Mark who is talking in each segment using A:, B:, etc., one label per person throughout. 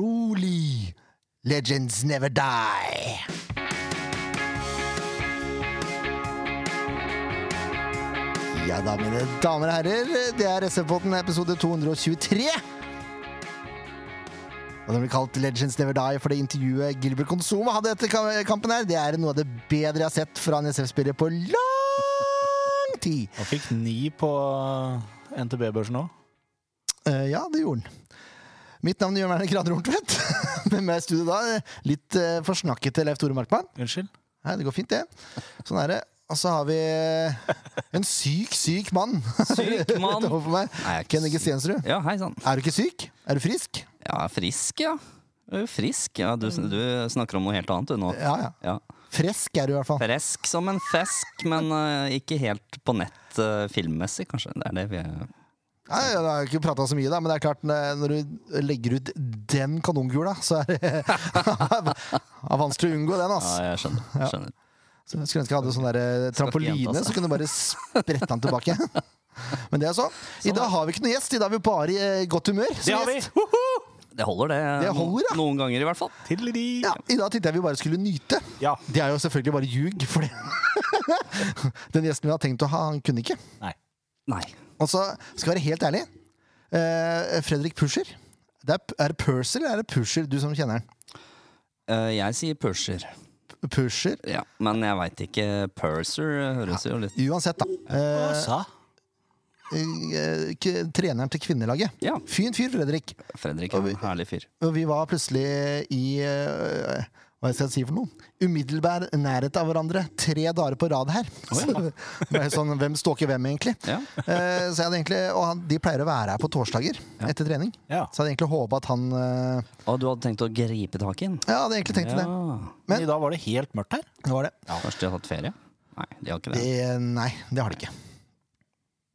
A: rolig. Legends never die. Ja da, mine damer og herrer. Det er SV-podden episode 223. Og den blir kalt Legends Never Die fordi intervjuet Gilbert Konsuma hadde etter ka- kampen her, det er noe av det bedre jeg har sett fra en SF-spiller på lang tid.
B: Han fikk ni på NTB-børsen òg.
A: Eh, ja, det gjorde han. Mitt navn er Jørn Werner Kraner Horntvedt. Med meg i studio da, litt eh, forsnakkete Leif Tore Markmann.
B: Unnskyld.
A: Nei, det går fint, det. Sånn er det. Og så har vi eh, en syk, syk mann
C: Syk mann.
A: rett overfor meg.
C: Nei, jeg er ikke
A: Ken Inge
C: syk.
A: Stensrud.
C: Ja, hei sann.
A: Er du ikke syk? Er du frisk?
C: Ja, frisk, ja. Mm. Du er Frisk. Ja, du, du snakker om noe helt annet, du nå.
A: Ja, ja.
C: Ja.
A: Fresk er du i hvert fall.
C: Fresk som en fisk, men eh, ikke helt på nett eh, filmmessig, kanskje. Det er det vi
A: Nei, jeg har ikke prata så mye, da, men det er klart, n- når du legger ut den kanonkula, så er det det er vanskelig å unngå den.
C: Ja,
A: ass.
C: jeg skjønner. Jeg skjønner.
A: Så jeg Skulle ønske jeg hadde sånn der eh,
C: gjenta
A: trampoline,
C: seg.
A: så kunne du bare sprette den tilbake. Men det er så.
C: Sånn
A: I dag har vi ikke noe gjest, i dag har vi bare i eh, godt humør. som gjest.
C: Det holder, det.
A: Det
C: no-
A: holder, ja.
C: Noen ganger, i hvert fall.
B: Tiddeli.
A: Ja, I dag tenkte jeg vi bare skulle nyte.
B: Ja.
A: Det er jo selvfølgelig bare ljug, for det- den gjesten vi hadde tenkt å ha, han kunne ikke.
B: Nei.
C: Nei.
A: Og så skal jeg være helt ærlig. eh, Fredrik Pusher. Det er, er det Purser eller er det Pusher, du som kjenner han?
C: Eh, jeg sier pusher,
A: Pusher.
C: ja. men jeg veit ikke. Purser høres jo litt
A: Uansett, da.
B: Hva
A: Eh,
B: sa?
A: eh, k- treneren til kvinnelaget.
C: Ja.
A: Fin fyr, Fredrik.
C: Fredrik er en herlig fyr.
A: Og vi var plutselig i eh, hva skal jeg si for noe? Umiddelbar nærhet av hverandre tre dager på rad her. Så det er sånn, hvem stalker hvem, egentlig?
C: Ja.
A: Eh, så jeg hadde egentlig, og han, De pleier å være her på torsdager etter trening.
B: Ja.
A: Så jeg hadde egentlig håpa at han eh,
C: Og du hadde tenkt å gripe tak i den?
A: Ja, hadde egentlig tenkt
C: Ja.
A: det.
B: Men i dag var det helt mørkt her.
A: Det var det.
C: Kanskje de har tatt ferie? Nei, de har ikke det.
A: det. Nei, det har de ikke.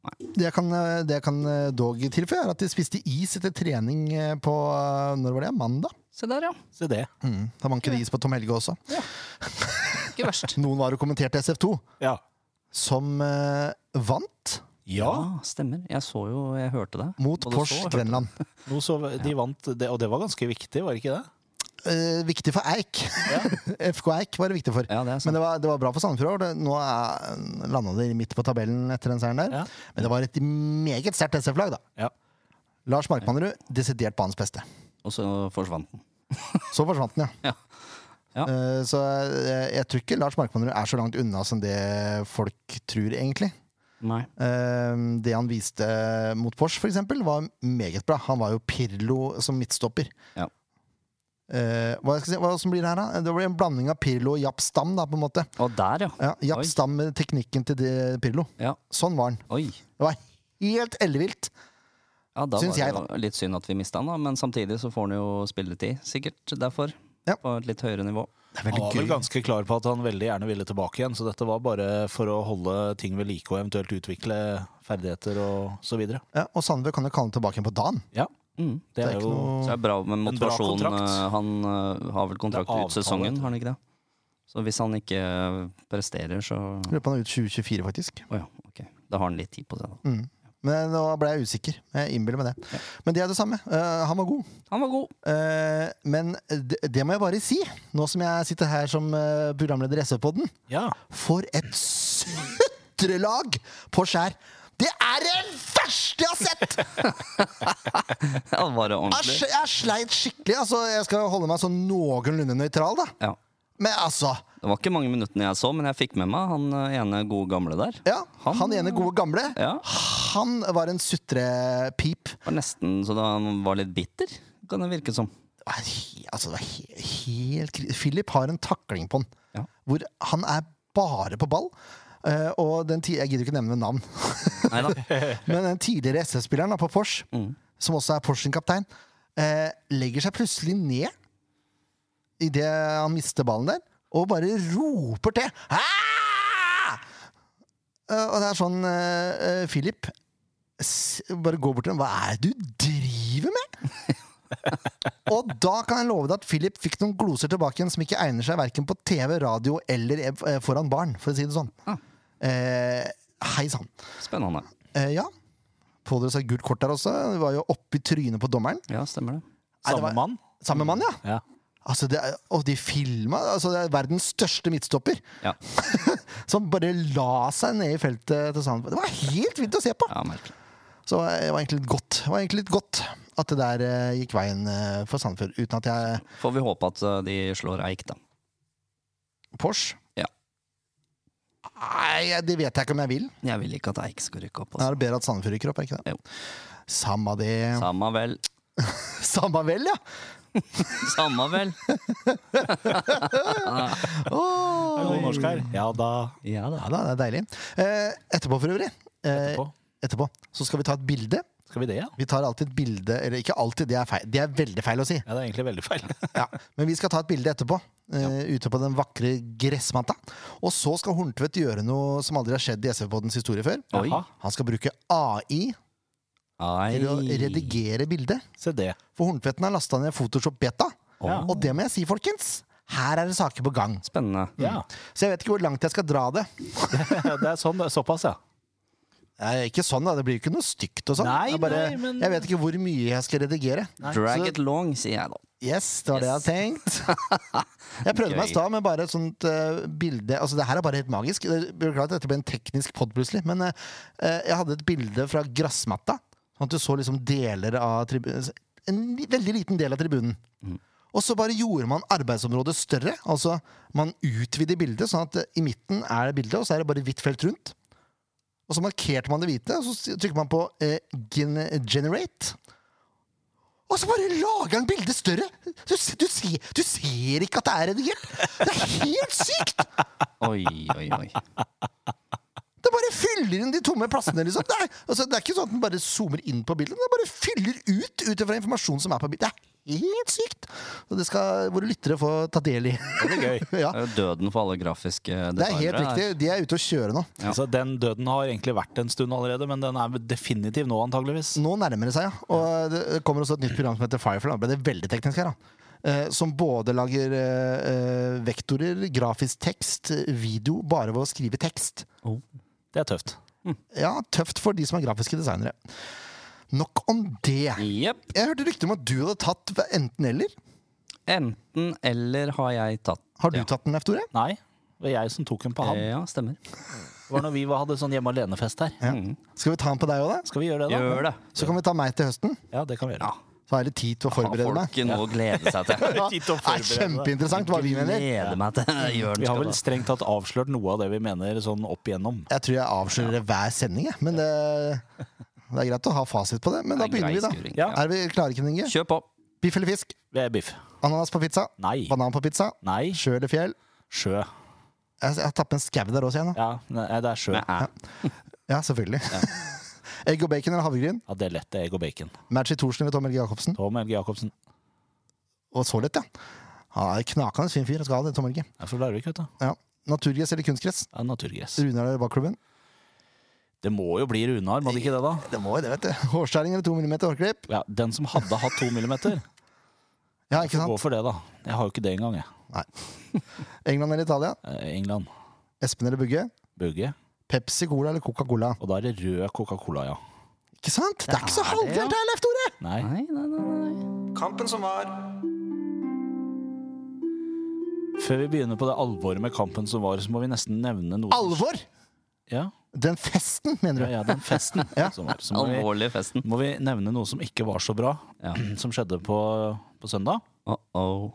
C: Nei.
A: Det jeg kan, eh, det jeg kan eh, dog tilføye, er at de spiste is etter trening eh, på eh, Når var det? Mandag?
C: Se der, ja.
B: Se det.
A: Mm. Da manket det is på Tom Helge også.
C: Ikke verst.
A: Noen var og kommenterte SF2,
B: Ja.
A: som eh, vant
B: Ja.
C: Ah, stemmer. Jeg så jo, jeg hørte det.
A: mot
C: Både
A: Pors
C: så og hørte.
A: Grenland.
B: Nå så de vant, det, og det var ganske viktig, var det ikke det?
A: Eh, viktig for Eik. FK Eik var det viktig for.
C: Ja, det er
A: Men
C: sant.
A: det var, det var bra for Sandefjord. og det- Nå er- landa de midt på tabellen etter den seieren der.
B: Ja.
A: Men det var et meget sterkt SF-lag, da.
B: Ja.
A: Lars Markmannerud, desidert banens beste.
C: Og så forsvant den.
A: Så forsvant den, ja.
C: Ja. Ja.
A: Eh, Så eh, jeg tror ikke Lars Markmannerud er så langt unna som det folk tror, egentlig.
C: Nei.
A: Eh, Det han viste mot Porsch, for eksempel, var meget bra. Han var jo Pirlo som midtstopper.
C: Ja.
A: Eh, hva, skal jeg si, hva som blir det her, da? Det blir en blanding av Pirlo og Japp Stam, da, på en måte.
C: Og der, ja.
A: Ja, Japp
C: Oi.
A: Stam med teknikken til det Pirlo.
C: Ja.
A: Sånn var han.
C: Oi.
A: Det var helt ellevilt.
C: Ja, da
A: Syns
C: var
A: jeg,
C: det jo litt synd at vi mista den, da. Men samtidig så får han jo spilletid, sikkert derfor.
A: Ja.
C: På et litt høyere nivå.
A: Det er
B: Han
A: veldig
B: var vel
A: gøy.
B: ganske klar på at han veldig gjerne ville tilbake igjen, så dette var bare for å holde ting ved like og eventuelt utvikle ferdigheter og så videre.
A: Ja, og Sandvø kan jo kalle ham tilbake igjen på dagen.
B: Ja,
C: Mm.
B: det
A: Det er
B: er
A: ikke
B: jo
C: Så
A: noe
C: det er bra med
B: En bra
C: motivasjon.
B: kontrakt.
C: Eh, Han eh, har vel kontrakt
B: Det er
C: ut
B: avtale,
C: sesongen,
B: vet
C: har han ikke det? Så hvis han ikke eh, presterer, så
A: Jeg Lurer på om han er ut 2024, faktisk.
C: Å ja, ok. Da har han litt tid på seg, da.
A: Mm. Men nå ble jeg usikker. Jeg innbiller meg det. Men det er det samme. Eh, han var god.
C: Han var god!
A: Eh, men det, det må jeg bare si, nå som jeg sitter her som eh, programleder i SV-podden.
B: Ja.
A: For et sutrelag på skjær! Det er det verste jeg har sett!
C: Ja, var det
A: Jeg,
C: ordentlig?
A: sl- jeg sleit skikkelig. Altså, jeg skal holde meg sånn noenlunde nøytral, da.
C: Ja.
A: Men altså
C: Det var ikke mange minuttene jeg så, men jeg fikk med meg han eh, ene gode gamle der.
A: ja, han,
C: Han-
A: ene gode gamle,
C: Ja.
A: han var en sutrepip.
C: Var nesten så da han var litt bitter, kan det virke som.
A: Det var he- Altså, det var he helt kri- Philip har en takling på han.
C: Ja.
A: Hvor han er bare på ball. Eh, og den ti jeg gidder ikke nevne navn,
C: Nei da.
A: men den tidligere SS-spilleren da, på Fors, som også er Fors sin kaptein, eh, legger seg plutselig ned idet han mister ballen der, og bare roper til. «Ah!» Eh, og det er sånn eh, eh, Philip s bare går bort til ham. Hva er det du driver med?! Og da kan jeg love deg at Philip fikk noen gloser tilbake igjen som ikke egner seg verken på TV, radio eller eh, foran barn, for å si det sånn.
C: Ah.
A: Eh, Hei sann.
C: Spennende.
A: Eh, ja. Pådro seg gult kort der også. Det var jo oppi trynet på dommeren.
C: Ja, stemmer det.
A: Nei, det
B: Samme
A: var-
B: mann.
A: Samme mann, ja.
B: Ja.
A: Altså det er, og de filma altså det er verdens største midtstopper.
C: Ja.
A: Som bare la seg ned i feltet til Sandefjord. Det var helt vilt å se på!
C: ja merkelig.
A: Så det var egentlig litt godt Det var egentlig litt godt at det der eh, gikk veien eh, for Sandefjord. Uten at jeg
C: Får vi håpe at eh, de slår Eik, da.
A: Porsche?
C: Ja.
A: Nei, jeg- det vet jeg ikke om jeg vil.
C: Jeg vil ikke at Eik skal rykke opp.
A: Da
C: Altså.
A: er det bedre at Sandefjord rykker opp, er ikke det?
C: Jo.
A: Samma det.
C: Samme vel.
A: Samma vel, ja!
C: Samme vel.
A: Åh.
B: Det er god norsk her. Ja da.
C: Ja da.
A: Ja da, det er deilig. Eh, etterpå, for øvrig, eh,
B: Etterpå.
A: etterpå, så skal vi ta et bilde.
B: Skal vi det, ja?
A: Vi tar alltid et bilde Eller ikke alltid, det er feil. Det er veldig feil å si.
B: Ja, det er egentlig veldig feil.
A: Ja. Men vi skal ta et bilde etterpå. eh, Ute på den vakre gressmatta. Og så skal Horntvedt gjøre noe som aldri har skjedd i SV-poddens historie før.
C: Oi.
B: Jaha,
A: Han skal bruke AI til å
C: Ai.
A: redigere bildet.
B: se det.
A: For Horntvedten har lasta ned Photoshop Beta.
B: Ja.
A: Og det må jeg si, folkens. Her er det saker på gang.
C: Spennende.
B: Ja.
A: Så jeg vet ikke hvor langt jeg skal dra det.
B: Det er sånn, det er såpass, ja.
A: Eh, ikke sånn, da. Det blir jo ikke noe stygt og sånn.
B: Nei,
A: Jeg bare,
B: nei, men-
A: Jeg vet ikke hvor mye jeg skal redigere.
C: Drag
A: Så-
C: it long, sier jeg da.
A: Yes, det var det jeg hadde tenkt. Jeg prøvde meg i
C: Gøy.
A: stad med bare et sånt eh, bilde Altså, det her er bare helt magisk. Det- Beklager at dette ble en teknisk pod plutselig, men eh, eh, jeg hadde et bilde fra gressmatta. Sånn at du så liksom deler av tribunen En li- veldig liten del av tribunen. Og så bare gjorde man arbeidsområdet større. Altså, man utvider bildet, sånn at eh, i midten er det bildet, og så er det bare hvitt felt rundt. Og så markerte man det hvite, og så s- trykker man på eh, gen generate. Og så bare lager han bildet større! Du, s- du, ser, du ser ikke at det er redigert! Det er helt sykt!
C: Oi, oi, oi.
A: Det bare fyller inn de tomme plassene. liksom. Det er, altså, det er ikke sånn at den bare zoomer inn på bildet, men den bare fyller ut ut ifra informasjon som er på bildet. Det er helt sykt! Og det skal våre lyttere få ta del i.
B: Det blir gøy.
A: ja,
C: Det er jo døden for alle
A: Det
C: grafiske
A: er helt
C: designere her.
A: riktig. De er ute å kjøre nå.
C: Ja.
B: Så den døden har egentlig vært en stund allerede, men den er definitiv nå, antageligvis.
A: Nå nærmer det seg, ja. Og det kommer også et nytt program som heter Firefly. Da ble det veldig teknisk her, da. Eh, som både lager eh, eh, vektorer, grafisk tekst, video, bare ved å skrive tekst.
B: Det er tøft.
A: Ja, tøft for de som er grafiske designere. Nok om det.
C: Jepp.
A: Jeg hørte rykter om at du hadde tatt enten-eller.
C: Enten eller har jeg tatt.
A: Har du
C: Ja.
A: tatt den, Leif Tore?
B: Nei, det var jeg som tok den på han.
C: Eh, Ja, stemmer. Eh.
B: Det var når vi var- hadde sånn hjemme alene-fest her.
C: Mm.
A: Skal vi ta den på deg òg, da?
B: Skal vi gjøre det, da?
C: Gjør det.
A: Så kan vi ta meg til høsten.
B: Ja, det kan vi gjøre.
C: Ja.
A: Så har jeg litt tid til å
C: Har
A: forberede meg.
C: folk noe å glede seg til?
A: Ja,
B: Tid
A: det
B: til å
A: er
B: forberede deg.
A: kjempeinteressant hva vi mener.
C: Gleder meg til Jørn
B: Vi har
C: skal
B: vel strengt tatt avslørt noe av det vi mener sånn opp igjennom.
A: Jeg tror jeg avslører det hver sending, jeg. Men det, det er greit å ha fasit på det. Men da
C: Det er
A: begynner vi,
C: grei skuring,
A: da.
C: ja.
A: Er vi klare, Knut Inge?
C: Kjør på.
A: Biff eller fisk?
B: Vi er biff.
A: Ananas på pizza?
B: Nei.
A: Banan på pizza?
B: Nei.
A: Sjø eller fjell?
B: Sjø.
A: Jeg jeg har tatt med en skau der også, jeg nå.
B: Ja, nei, det er sjø.
C: Med æ.
A: Ja, selvfølgelig. Egg og bacon eller havregryn?
B: Ja, det er lett. Det er egg og bacon.
A: Match i Thorsen ved Tom Helge Jacobsen.
B: Tom Helge Jacobsen.
A: Og så lett, ja. Han er en knakende fin fyr. Han Skal ha det, Tom Helge.
B: Jeg er fra Larvik, vet du.
A: Ja. Naturgress eller kunstgress?
B: Det er naturgress.
A: Runar eller bakklubben?
B: Det må jo bli Runar, må det ikke det, da?
A: Det må jo det, vet du. Hårskjæring eller to millimeter hårklipp?
B: Ja, den som hadde hatt to millimeter,
A: Ja, ikke
B: gå
A: sant?
B: for det, da. Jeg har jo ikke det engang, jeg.
A: England eller Italia?
B: Eh, England.
A: Espen eller Bugge?
B: Bugge.
A: Pepsi Cola eller Coca-Cola?
B: Og da er det rød Coca-Cola, ja.
A: Ikke sant? Det er ikke så
C: er det, ja.
A: halvfjernt her, Leif Tore!
B: Nei.
C: Nei, nei, nei. nei.
A: Kampen som var
B: Før vi begynner på det alvoret med kampen som var, så må vi nesten nevne noe
A: Alvor!
B: Ja,
A: Den festen, mener
B: ja,
A: du?
B: ja den festen som var. Så må vi,
C: Alvorlig festen.
B: må vi nevne noe som ikke var så bra,
C: Ja.
B: som skjedde på, på søndag.
C: Uh -oh.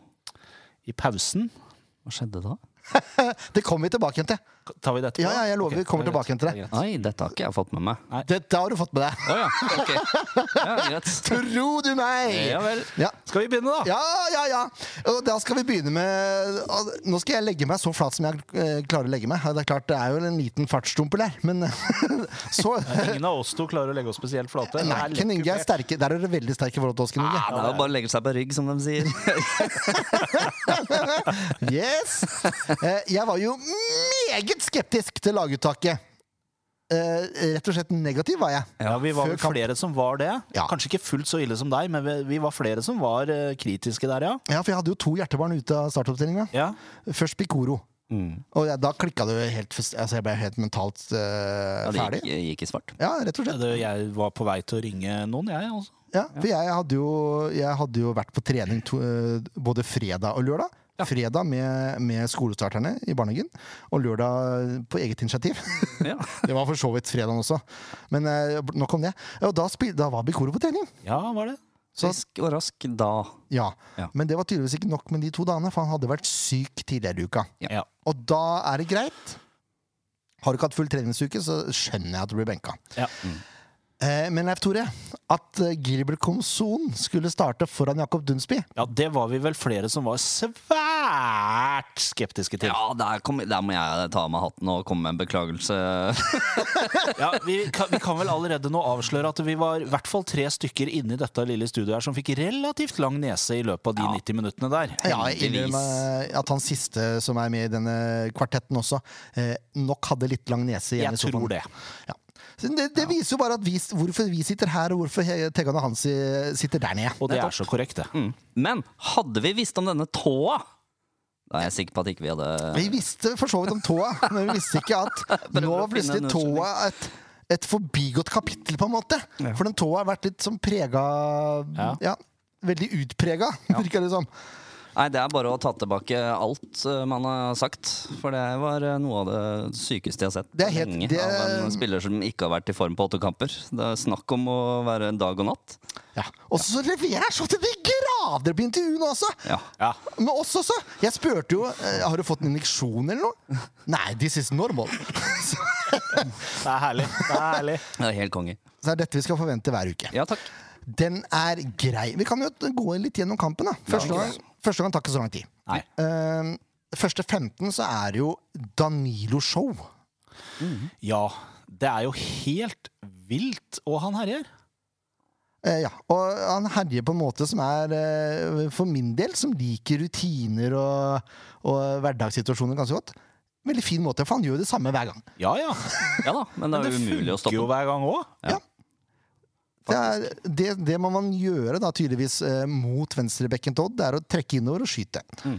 B: I pausen
C: Hva skjedde da?
A: Det kommer vi tilbake igjen til.
B: Tar vi det etterpå?
A: Ja, ja, jeg lover
B: Ok,
A: vi kommer
B: det er greit,
A: tilbake igjen til det.
B: er greit.
C: Oi, dette har ikke jeg fått med meg.
A: Det, det har du fått med deg.
C: Å ja, ok. Ja, greit.
A: Tro du meg!
C: Ja vel.
A: Ja.
B: Skal vi begynne, da?
A: Ja, ja, ja. Og da skal vi begynne med og Nå skal jeg legge meg så flat som jeg eh, klarer å legge meg. Ja, Det er klart, det er jo en liten fartsdumper der, men så
B: Ingen av oss to klarer å legge oss spesielt flate.
A: Nei,
B: Det er
A: Ken
B: litt
A: Inge er
B: kupert.
A: sterke. Der er du veldig sterk i forhold til oss, Ken
C: Ja,
A: Inge.
C: det er jo bare å legge seg på rygg, som de sier.
A: Yes! Eh, Jeg var jo meget skeptisk til laguttaket. Eh, Rett og slett negativ var jeg.
B: Ja, vi var
A: før
B: vel
A: kamp.
B: flere som var det.
A: Ja.
B: Kanskje ikke fullt så ille som deg, men vi, vi var flere som var eh, kritiske der, ja.
A: Ja, For jeg hadde jo to hjertebarn ute av startoppstillinga.
B: ja.
A: Først Picoro.
C: Mm.
A: Og ja, da klikka det jo helt fest- altså Jeg ble helt mentalt eh,
C: Ja, det
A: ferdig.
C: gikk, gikk i svart.
A: Ja, rett og slett.
B: Det, jeg var på vei til å ringe noen, jeg. altså.
A: Ja, for jeg hadde, jo, jeg hadde jo vært på trening to, eh, både fredag og lørdag. Fredag med, med skolestarterne i barnehagen, og lørdag på eget initiativ.
C: Ja.
A: det var for så vidt fredagen også, men eh, nok om det. Og da, spil, da var Bikoro på trening.
B: Ja, var det?
A: Så-
C: Frisk og rask da.
A: Ja.
C: Ja.
A: Men det var tydeligvis ikke nok med de to dagene, for han hadde vært syk tidligere i uka.
B: Ja.
A: Og da er det greit. Har du ikke hatt full treningsuke, så skjønner jeg at du blir benka.
B: Ja.
A: Eh, men Leif Tore, at eh, Gilbert Komson skulle starte foran Jakob Dunsby
B: ja, det var vi vel flere som var svært skeptiske til.
C: Ja, der, kom, der må jeg ta av meg hatten og komme med en beklagelse.
B: Ja, vi, kan, vi kan vel allerede nå avsløre at vi var i hvert fall tre stykker inne i dette lille studioet her som fikk relativt lang nese i løpet av de
C: Ja.
B: 90 minuttene der.
A: Ja, jeg innrømmer eh, at han siste som er med i denne kvartetten også, eh, nok hadde litt lang nese. igjen
B: Jeg
A: i sofaen.
B: tror det.
A: Ja. Så det, det viser jo bare at vi, hvorfor vi sitter her, og hvorfor he- Tegan og Hansi sitter der nede.
B: Og det er så korrekt, det.
C: Mm. Men hadde vi visst om denne tåa, da er jeg sikker på at ikke vi hadde
A: Vi visste for så vidt om tåa, men vi visste ikke at nå
C: å
A: var plutselig
C: finne en
A: tåa et, et forbigått kapittel, på en måte. For den tåa har vært litt sånn prega ja.
B: Ja.
A: veldig utprega, virker det som.
C: Nei, det er bare å ta tilbake alt eh, man har sagt. For det var eh, noe av det sykeste jeg har sett
A: Det er helt-
C: lenge.
A: det-
C: Av en spiller som ikke har vært i form på åtte kamper. Det er snakk om å være dag og natt.
A: Ja. Og så leverer jeg så til de grader på intervjuene også!
C: Ja.
B: Ja.
A: Men oss også! Jeg spurte jo eh, Har du fått en injeksjon eller noe. Nei, this is normal. Så
B: Det er herlig. Det er herlig.
C: Det er helt konge.
A: det er dette vi skal forvente hver uke.
C: Ja takk.
A: Den er grei. Vi kan jo gå litt gjennom kampen. da Første
C: Ja.
A: gang, første gang tar ikke så lang tid.
B: Nei.
A: Eh, første 15 så er det jo Danilo-show.
B: Ja, det er jo helt vilt, og han herjer.
A: Eh, ja. Og han herjer på en måte som er, eh, for min del, som liker rutiner og, og hverdagssituasjoner ganske godt. Veldig fin måte, for han gjør jo det samme hver gang.
B: Ja ja.
C: Ja da, men det er jo umulig å
B: Funker
C: stoppe.
B: jo hver gang òg.
A: Det, er, det, det må man gjøre da tydeligvis eh, mot venstrebekken til Odd, det er å trekke innover og skyte.
C: Mm.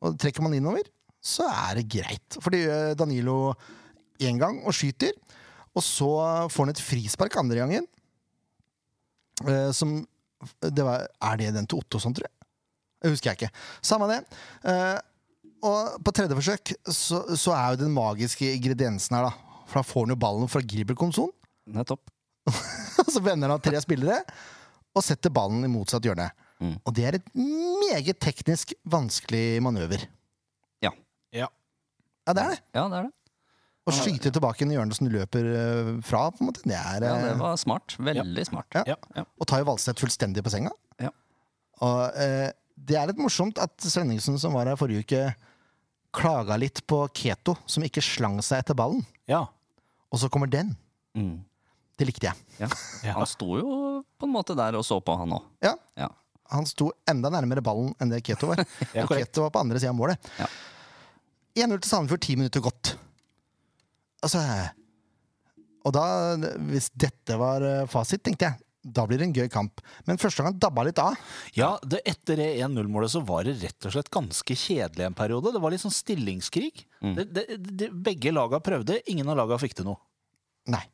A: Og trekker man innover, så er det greit. For det gjør Danilo én gang og skyter, og så får han et frispark andre gangen. Eh, som det var, Er det den til Ottosson, tror jeg? Det husker jeg ikke. Samme det. Eh, og på tredje forsøk så, så er jo den magiske ingrediensen her, da. For da får han jo ballen fra Gribbelkomson.
C: Nettopp.
A: Og så vender han tre spillere og setter ballen i motsatt hjørne.
C: Mm.
A: Og det er et meget teknisk vanskelig manøver.
B: Ja.
A: Ja, det er det.
C: Ja, det er det.
A: Å skyte tilbake inn i hjørnet som du løper eh, fra, på en måte, det er
C: Ja,
A: eh,
C: det var smart. Veldig smart.
A: Ja. Og tar jo Valseth fullstendig på senga.
C: Ja.
A: Og eh, det er litt morsomt at Svenningsen, som var her forrige uke, klaga litt på Keto, som ikke slang seg etter ballen.
B: ja.
A: Og så kommer den.
C: Mm.
A: Det likte jeg.
C: Ja.
B: Ja.
C: Han sto jo på en måte der og så på, han òg.
A: Ja,
C: Ja.
A: Han sto enda nærmere ballen enn det Keto var.
B: Ja,
A: Og
B: korrekt.
A: Keto var på andre sida av målet.
C: Ja.
A: 1-0 til Sandefjord, ti minutter gått. Altså Og da, hvis dette var eh, fasit, tenkte jeg, da blir det en gøy kamp. Men første gang dabba litt av.
B: Ja, det, etter det 1-0-målet så var det rett og slett ganske kjedelig en periode. Det var litt sånn stillingskrig.
C: Mm.
B: Det, det, det, begge laga prøvde, ingen av laga fikk til noe.
A: Nei.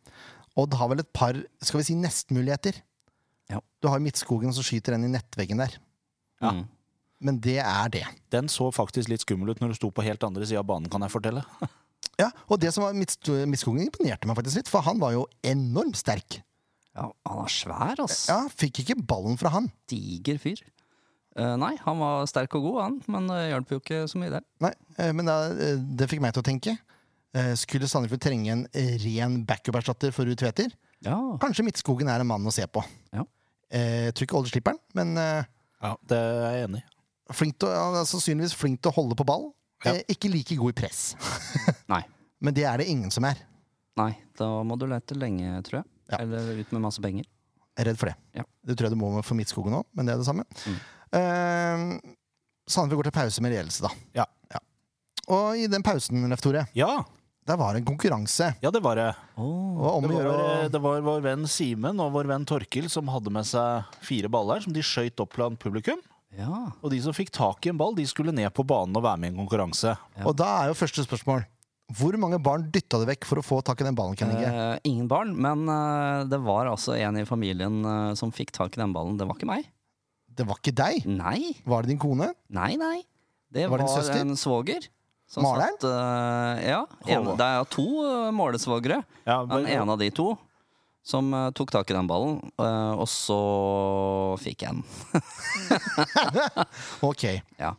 A: Odd har vel et par skal vi si, nestmuligheter.
C: Ja.
A: Du har Midtskogen som skyter den i nettveggen der.
B: Ja.
C: Mm.
A: Men det er det.
B: Den så faktisk litt skummel ut når du sto på helt andre sida av banen, kan jeg fortelle.
A: Ja, Og det som var Midtsko- Midtskogen imponerte meg faktisk litt, for han var jo enormt sterk.
C: ja, han er svær, ass.
A: Ja, Fikk ikke ballen fra han.
C: Diger fyr. Eh, nei, han var sterk og god, han, men det hjalp jo ikke så mye, det.
A: Nei, eh, men da, eh, det fikk meg til å tenke. Eh, Skulle Sandefjord trenge en ren backup-erstatter for Ruud Tveter?
C: Ja.
A: Kanskje Midtskogen er en mann å se på.
C: Ja.
A: Eh, Jeg tror ikke Olde slipper den, men eh,
B: Ja, Det er jeg enig i.
A: flink til, å- han er sannsynligvis flink til å holde på ball.
B: Ja.
A: Eh, Ikke like god i press.
C: Nei.
A: Men det er det ingen som er.
C: nei, da må du lete lenge, tror jeg.
A: Ja.
C: Eller ut med masse penger.
A: Jeg er redd for det.
C: Ja.
A: Det tror jeg du må med for Midtskogen òg, men det er det samme.
B: Mm.
A: Eh, Sandefjord går til pause med ledelse, da.
B: Ja.
A: Og i den pausen, Leif Tore,
B: Ja,
A: der var det en konkurranse.
B: ja, det var det.
A: Og om
B: Det
A: å gjøre
B: var,
A: å-
B: eh, det var vår venn Simen og vår venn Torkil som hadde med seg fire baller som de skøyt opp blant publikum.
C: Ja.
B: Og de som fikk tak i en ball, de skulle ned på banen og være med i en konkurranse.
A: Og da er jo første spørsmål Hvor mange barn dytta du vekk for å få tak i den ballen? Ken Inge?
C: Eh, ingen barn, men eh, det var altså en i familien eh, som fikk tak i den ballen. Det var ikke meg.
A: Det var ikke deg!
C: Nei,
A: Var det din kone?
C: nei, nei. Det
A: Var
C: var,
A: det en søster?
C: en svoger. som
A: Maleren?
C: satt, eh, ja. En,
B: Håvard.
C: det er to eh, målesvogere.
B: Ja,
C: Den
B: men-
C: ene av de to som eh, tok tak i den ballen, eh, og så fikk jeg den.
A: Ok.
C: Ja.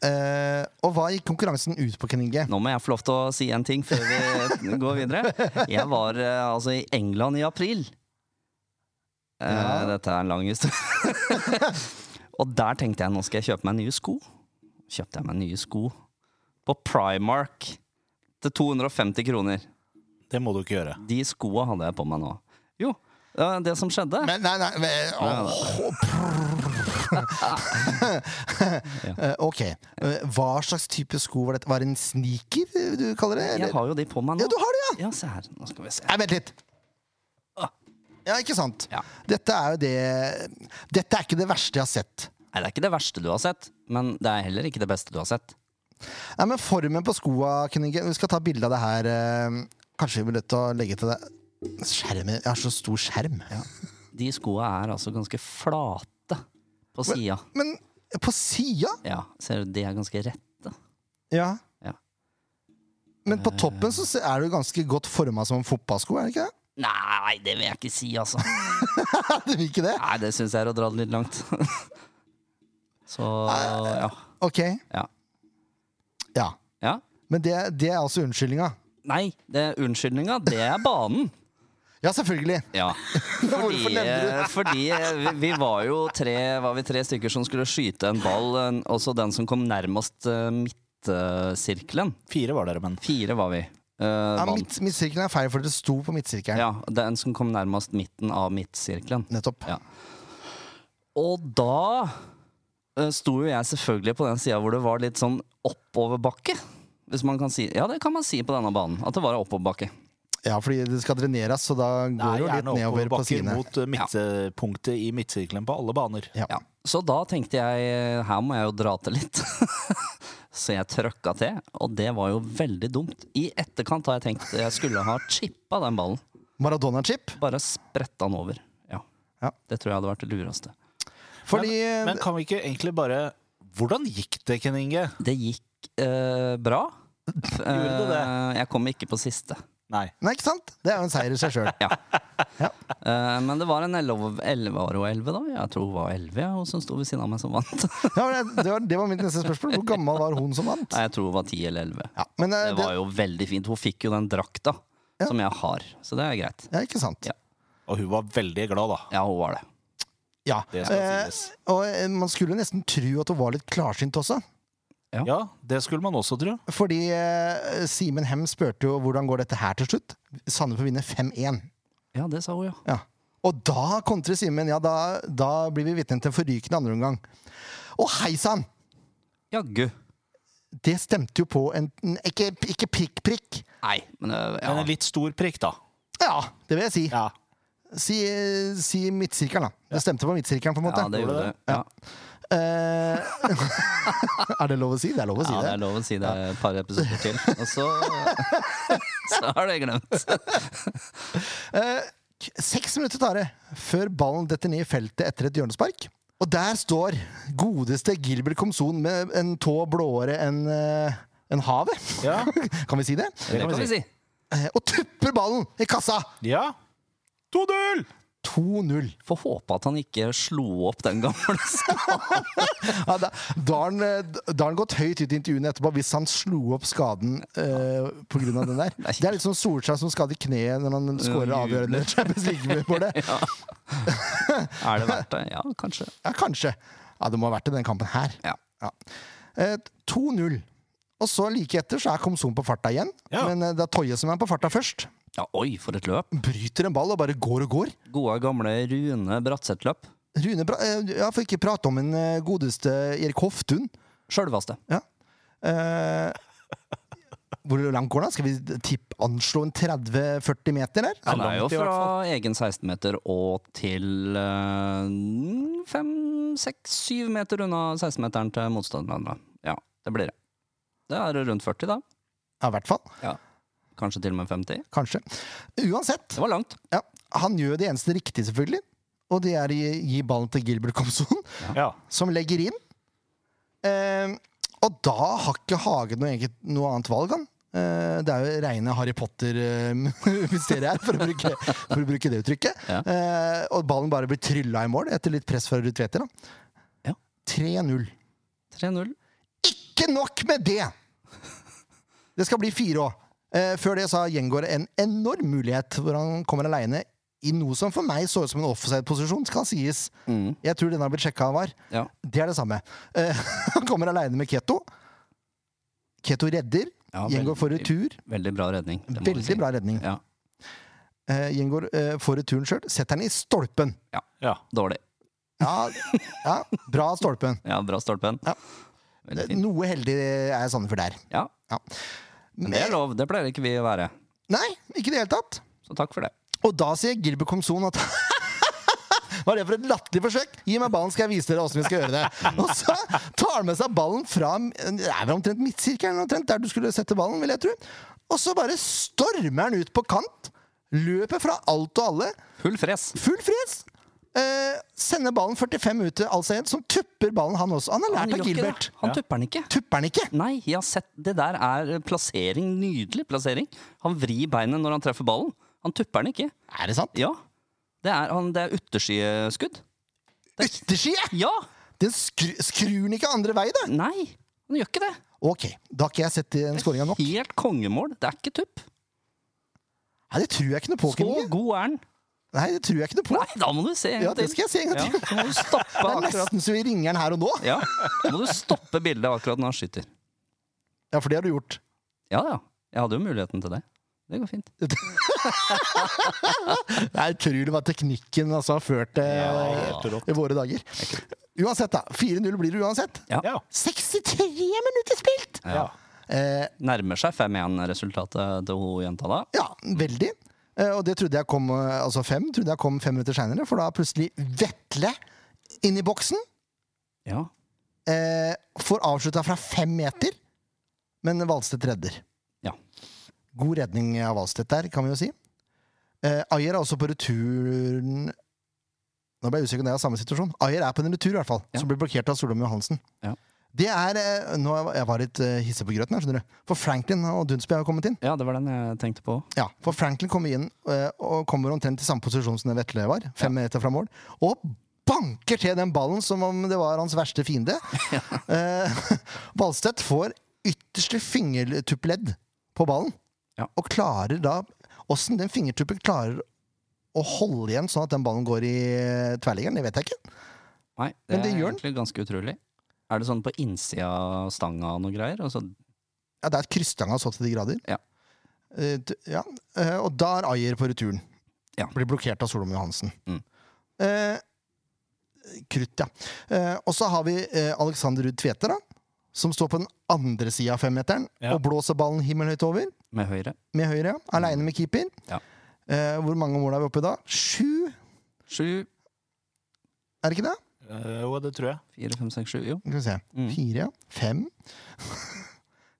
A: Eh, og hva gikk konkurransen ut på, Ken Inge?
C: Nå må jeg få lov til å si en ting før vi går videre. Jeg var eh, altså i England i april. Eh, Dette er en lang historie. og der tenkte jeg nå skal jeg kjøpe meg nye sko. Kjøpte jeg meg nye sko på Primark til 250 kroner.
B: Det må du ikke gjøre.
C: De skoa hadde jeg på meg nå. Jo, eh, det som skjedde
A: Men, nei, nei, men, åh, prrr. Eh, Ok. Eh, Hva slags type sko var dette? Var det en sneaker du kaller det?
C: Jeg
A: Eller?
C: har jo de på meg
A: Ja,
C: nå.
A: du har det, ja!
C: Ja, se her. Nå skal vi se.
A: Nei, vent litt. Ja, ikke sant?
C: Ah. Ja.
A: Dette er jo det Dette er ikke det verste jeg har sett.
C: Nei, det er ikke det verste du har sett, men det er heller ikke det beste du har sett.
A: Nei, men formen på skoa kunne ikke Vi skal ta bilde av det her. eh, Kanskje vi blir nødt til å legge til det Skjermen Jeg har så stor skjerm.
C: De skoa er altså ganske flate på sida.
A: Men på sida?
C: Ja, ser du, de er ganske rette.
A: Ja.
C: Ja. Eh.
A: Men på toppen så se- er du ganske godt forma som en fotballsko, er det ikke det?
C: Nei, det vil jeg ikke si, altså.
A: Du vil ikke det?
C: Nei, det syns jeg er å dra det litt langt. Så ja.
A: Ok.
C: Ja.
A: Ja.
C: ja.
A: Men det, det er altså unnskyldninga.
C: Nei, det, unnskyldninga, det er banen.
A: Ja, selvfølgelig.
C: Ja. Fordi,
A: Hvorfor nevner du
C: fordi eh, vi, vi var jo tre, var vi tre stykker som skulle skyte en ball, en- også den som kom nærmest eh, midtsirkelen.
B: Fire var dere, men.
C: Fire var vi. eh,
A: Ja,
C: vant.
A: midt, midtsirkelen er feil, for det sto på midtsirkelen.
C: Ja, den som kom nærmest midten av midtsirkelen.
A: Nettopp.
C: Ja. Og da eh, sto jo jeg selvfølgelig på den sida hvor det var litt sånn oppoverbakke. Hvis man kan si Ja, det kan man si på denne banen. At det var oppoverbakke.
A: Ja, fordi det skal dreneres, så da går det jo litt nedover på
B: bakker
A: sidene.
B: mot eh, midtpunktet i midtsirkelen på alle baner.
A: Ja.
C: Ja. Så da tenkte jeg eh, her må jeg jo dra til litt. Så jeg trøkka til, og det var jo veldig dumt. I etterkant har jeg tenkt jeg skulle ha chippa den ballen.
A: Maradona-chip.
C: Bare spretta den over. Ja.
A: Ja.
C: Det tror jeg hadde vært det lureste.
A: Fordi eh,
B: men, men kan vi ikke egentlig bare Hvordan gikk det, Ken Inge?
C: Det gikk eh, bra.
B: det det?
C: Eh, Jeg kom ikke på siste.
B: Nei.
A: Nei, ikke sant? Det er jo en seier i seg sjøl.
C: Eh, men det var en 11 11 var hun 11 da. Jeg tror hun var 11, ja, og som sto ved siden av meg som vant.
A: Ja, men det, det var- det var mitt neste spørsmål. Hvor gammel var hun som vant?
C: Nei, jeg tror hun var 10 eller 11.
A: Ja, men eh,
C: Det var jo veldig fint. Hun fikk jo den drakta
A: Ja.
C: som jeg har, så det er greit.
A: ja, ikke sant?
C: Ja.
B: Og hun var veldig glad, da.
C: Ja, hun var det.
A: Ja.
B: Det skal
A: Eh,
B: sies.
A: og eh, man skulle nesten tro at hun var litt klarsynt også.
C: Ja.
B: Ja, det skulle man også tro.
A: Fordi eh, Simen Hem spurte jo hvordan går dette her til slutt. Sande får vinne 5-1.
C: Ja, det sa hun, ja.
A: Ja. Og da kontrer Simen. Ja, da, da blir vi vitne til en forrykende andreomgang. Og hei sann!
C: Jaggu.
A: Det stemte jo på en en- Ikke, ikke prikk-prikk.
C: Nei, men eh, ja.
B: Men en litt stor prikk, da.
A: Ja, det vil jeg si.
B: Ja.
A: Si, eh, si midtsirkelen, da. Det stemte på midtsirkelen, på en måte.
C: ja, det gjorde det. Ja.
A: Eh, er det lov å si? Det er lov å si
C: ja, det
A: det.
C: er lov å si det et par episoder til, og så Så er det glemt.
A: K- Seks minutter tar det før ballen detter ned i feltet etter et hjørnespark. Og der står godeste Gilbert Komson med en tå blåere enn eh, enn havet.
B: Ja.
A: kan vi si det?
C: Det kan vi si.
A: Eh, Og tupper ballen i kassa!
B: Ja. 2-0!
A: 2-0.
C: Får håpe at han ikke slo opp den gamle
A: Ja, da, da, har han, eh, da har han gått høyt ut i intervjuene etterpå hvis han slo opp skaden eh, på grunn av den der. Det er litt sånn Solskjær som skader kneet når han scorer
C: Ja,
A: avgjørende Champions League-målet.
C: Er det verdt det? Ja, kanskje.
A: Ja, kanskje. Ja, det må ha vært i den kampen her.
C: Ja.
A: Ja. Eh, 2-0. Og så like etter så er Komsom på farta igjen.
B: Ja.
A: Men eh, det er Toje som er på farta først.
C: ja oi, for et løp.
A: Bryter en ball og bare går og går.
C: Gode, gamle Rune Bratseth-løp.
A: Rune, bra, eh, ja, for ikke prate om en eh, godeste Erik Hoftun.
C: Sjølveste.
A: Ja. Eh, Hvor langt går den? Skal vi tipp, anslå en 30-40 meter der?
C: Han er jo
B: langt i hvert
C: fra egen 16-meter og til eh, 5-6-7 meter unna 16-meteren til motstanderen. da. Ja, det blir det. Det er rundt 40, da.
A: Ja, i hvert fall.
C: Kanskje til og med 50.
A: Kanskje. Uansett,
C: Det var langt.
A: ja, han gjør det eneste riktige, selvfølgelig. Og det er å gi gi ballen til Gilbert Komson,
B: Ja.
A: som legger inn. Eh, og da har ikke Hage noe, eget, noe annet valg, han. Eh, det er jo reine Harry Potter-mysteriet her, for å bruke, for å bruke det uttrykket.
C: Ja.
A: Eh, og ballen bare blir trylla i mål etter litt press fra Ruud Tveter. da.
C: Ja.
A: 3-0.
C: 3-0.
A: Ikke nok med det! Det skal bli fire år. Eh, før det så har Gjengård en enorm mulighet hvor han kommer aleine i noe som for meg så ut som en offside-posisjon, skal sies.
C: Mm.
A: Jeg tror den har blitt sjekka av VAR.
C: Ja.
A: Det er det samme. Eh, han kommer aleine med Keto. Keto redder.
C: Ja,
A: Gjengård får retur.
C: Veldig bra redning. det må vi
A: Veldig
C: si.
A: bra redning.
C: Ja,
A: Eh, Gjengård eh, får returen sjøl. Setter den i stolpen.
B: Ja.
C: Dårlig.
A: Ja, ja bra stolpen.
C: Ja, bra stolpen.
A: Ja.
C: Veldig fint.
A: Noe heldig er Sandefjord der.
C: Ja, men det er lov. Det pleier ikke vi å være.
A: Nei, ikke i det hele tatt.
C: Så takk for det.
A: Og da sier Gilbert Komson at Hva er det for et latterlig forsøk? Gi meg ballen, skal jeg vise dere åssen vi skal gjøre det. Og så tar han med seg ballen fra Det er vel omtrent midtsirkelen, omtrent der du skulle sette ballen, vil jeg tro. Og så bare stormer han ut på kant. Løper fra alt og alle.
C: Full fres.
A: Full fres. Eh, sender ballen 45 ut til Al-Sayed, som tupper ballen, han også. Han har
C: Han
A: lært av
C: gjør ikke
A: Gilbert.
C: det. Han tupper den ikke.
A: Tupper han ikke?
C: Nei, jeg har sett Det der er plassering. Nydelig plassering. Han vrir beinet når han treffer ballen. Han tupper den ikke.
A: Er det sant?
C: Ja. Det er, han, det er ytterskudd.
A: Ytterside!
C: Ja!
A: Den skru, skrur den ikke andre vei, da?
C: Nei, han gjør ikke det.
A: Ok, da har ikke jeg sett eh, den skåringa nok.
C: Helt kongemål. Det er ikke tupp.
A: Nei, det tror jeg ikke noe på.
C: Så
A: Kenneth.
C: god er han.
A: Nei, det tror jeg ikke noe på.
C: Nei, da må du se en
A: Ja,
C: gang
A: det skal jeg se en gang
C: Ja,
A: til.
C: så må du stoppe
A: Det er
C: akkurat
A: nesten så vi ringer den her og nå.
C: Ja, da må du stoppe bildet akkurat når han skyter.
A: Ja, for det har du gjort.
C: Ja ja, jeg hadde jo muligheten til det. Det går fint.
A: Jeg tror det var teknikken altså, har ført det
B: Ja, helt rått.
A: i våre dager. Uansett, da. 4-0 blir det uansett.
C: Ja.
B: Ja.
A: 63 minutter spilt!
B: ja.
A: Eh,
C: Nærmer seg 5-1-resultatet til hun jenta da.
A: ja, veldig. Eh, og det trodde jeg kom eh, altså fem, trodde jeg kom fem minutter seinere, for da plutselig Vetle inn i boksen.
C: Ja.
A: eh, får avslutta fra fem meter, men Valstedt redder.
C: Ja.
A: God redning av Valstedt der, kan vi jo si. Eh, Ayer er også på returen Nå ble jeg usikker om det er samme situasjon. Ayer er på en retur, i hvert fall,
C: Ja.
A: som blir blokkert av Solom Johansen.
C: Ja.
A: Det er eh, Nå var jeg var litt eh, hissig på grøten, her, skjønner du. For Franklin og Dunsby har jo kommet inn.
C: ja, det var den jeg tenkte på.
A: Ja, For Franklin kommer inn eh, og kommer omtrent i samme posisjon som den Vetle var, fem meter fra mål, og banker til den ballen som om det var hans verste fiende. Eh, Ballstedt får ytterste fingertuppledd på ballen,
C: Ja.
A: og klarer da Åssen den fingertuppen klarer å holde igjen sånn at den ballen går i eh, tverrliggeren, det vet jeg ikke.
C: Nei, det,
A: Men det
C: er
A: gjør den.
C: egentlig ganske utrolig. Er det sånn på innsida av stanga og noe greier? Altså,
A: Ja, Det er et krysstang av så til de grader.
C: Ja.
A: Eh, t- ja. eh, og da er Ayer på returen.
C: Ja.
A: Blir blokkert av Solom Johansen.
C: Mm.
A: Eh, krutt, ja. Eh, og så har vi eh, Alexander Ruud Tveter, da. Som står på den andre sida av femmeteren
B: Ja.
A: og blåser ballen himmelhøyt over.
C: med høyre.
A: Med høyre, ja. Aleine med keeper.
C: Mm. Ja.
A: Eh, hvor mange mål er vi oppe i da? Sju,
C: Sju,
A: er det ikke det?
B: Eh, Jo, det tror jeg.
C: fire, fem, seks, sju. Jo.
A: Skal vi se.
C: Mm.
A: Fire, fem,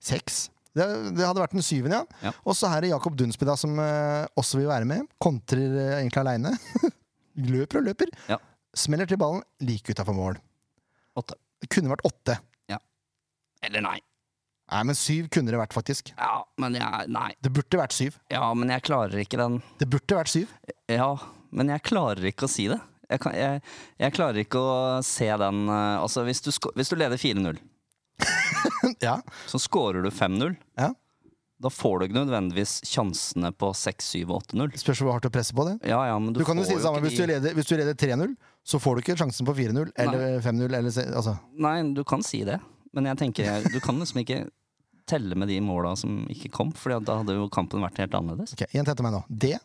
A: seks. Det, det hadde vært den syvende, ja.
C: Ja.
A: Og så er det Jakob Dunsby, da, som eh, også vil være med. Kontrer eh, egentlig aleine. løper og løper.
C: Ja.
A: Smeller til ballen like utafor mål.
C: Åtte.
A: Det kunne vært åtte.
C: Eller nei.
A: Nei, men syv kunne det vært, faktisk.
C: Ja, men jeg Nei.
A: Det burde vært syv.
C: Ja, men jeg klarer ikke den.
A: Det burde vært syv.
C: Ja, men jeg klarer ikke å si det. Jeg, kan, jeg, jeg klarer ikke å se den eh, Altså, hvis du, sko- hvis du leder 4-0,
A: ja.
C: så scorer du 5-0.
A: Ja.
C: Da får du ikke nødvendigvis sjansene på 6, 7 og 8-0.
A: Spørs hvor hardt du presser på det.
C: Ja, ja, men du,
A: Du kan jo
C: får
A: si det samme.
C: ikke
A: Hvis du
C: de-
A: leder, hvis du leder 3-0, så får du ikke sjansen på 4-0 eller 5-0. Eller, se- altså.
C: Nei, du kan si det. Men jeg tenker, jeg- du kan liksom ikke telle med de måla som ikke kom, for da hadde jo kampen vært helt annerledes.
A: Ok, Gjenta etter meg nå. Det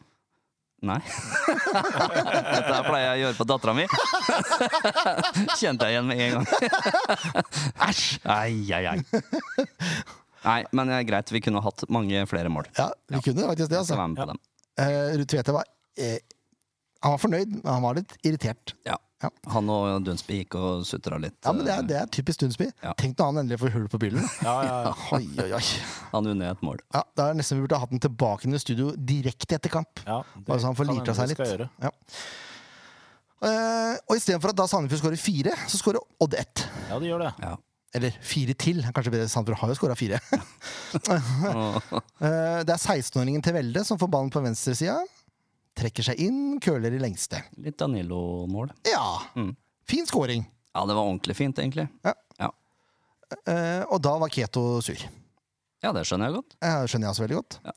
C: Nei. Dette her pleier jeg å gjøre på dattera mi. Kjente jeg igjen med en gang. Æsj! Ai, ai, ai. Nei, men eh, greit, vi kunne hatt mange flere mål.
A: Ja, vi kunne faktisk det,
C: Jeg
A: altså.
C: skal være med på dem.
A: Eh, Ruud Tvete var eh, Han var fornøyd, men han var litt irritert.
C: Ja.
A: Ja.
C: Han og Dunsby gikk og sutra litt.
A: Ja, men Det er,
C: eh,
A: det er typisk Dunsby.
C: Ja.
A: Tenk når han endelig får hull på byllen.
B: Ja, ja, ja.
A: Oi, oi, oi.
C: eh, Han unner et mål.
A: Ja, da er det nesten vi burde ha hatt den tilbake inn i studio direkte etter kamp.
B: Ja,
A: Bare så han får
B: kan
A: lirta
B: hende
A: seg
B: vi skal
A: litt.
B: gjøre.
A: Ja. Eh, og istedenfor at da Sandefjord skårer fire, så skårer Odd ett.
B: Ja, det gjør det.
C: Ja.
A: Eller fire til. er Kanskje bedre Sandefjord har jo skåra fire.
C: Og,
A: Eh, det er 16-åringen til Velde som får ballen på venstresida. Trekker seg inn, køler i lengste.
C: litt Danilo-mål.
A: Ja!
C: Mm.
A: Fin scoring.
C: Ja, det var ordentlig fint, egentlig.
A: Eh, og da var Keto sur.
C: Ja, det skjønner jeg godt.
A: Ja, Det skjønner jeg også veldig godt.
C: Ja.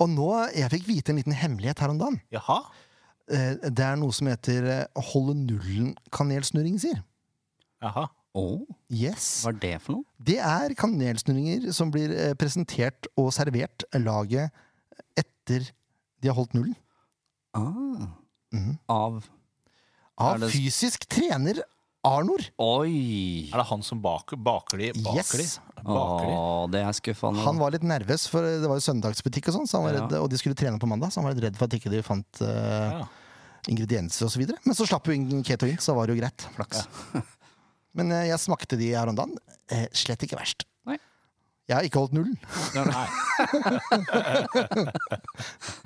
A: Og nå, jeg fikk vite en liten hemmelighet her om dagen.
B: Jaha?
A: Eh, Det er noe som heter eh, holde nullen-kanelsnurring, sier.
B: Jaha.
C: Å,
A: Yes.
C: hva er det for noe?
A: Det er kanelsnurringer som blir eh, presentert og servert laget etter de har holdt nullen.
C: Ah,
A: Mhm.
C: av Er
A: Av
C: det-
A: fysisk trener Arnor.
C: Oi!
B: Er det han som baker, baker de? Baker
A: Yes.
B: de? Baker de?
C: Å, det er skuffende.
A: Han var litt nervøs, for det var jo søndagsbutikk, og sånn, så han var
C: Ja.
A: redd, og de skulle trene på mandag, så han var litt redd for at ikke de fant eh,
B: Ja.
A: ingredienser osv. Men så slapp jo ingen keto inn, så var det jo greit.
C: flaks.
A: Men eh, jeg smakte de her om dagen. Eh, slett ikke verst.
C: Nei.
A: Jeg har ikke holdt nullen.
B: Nei.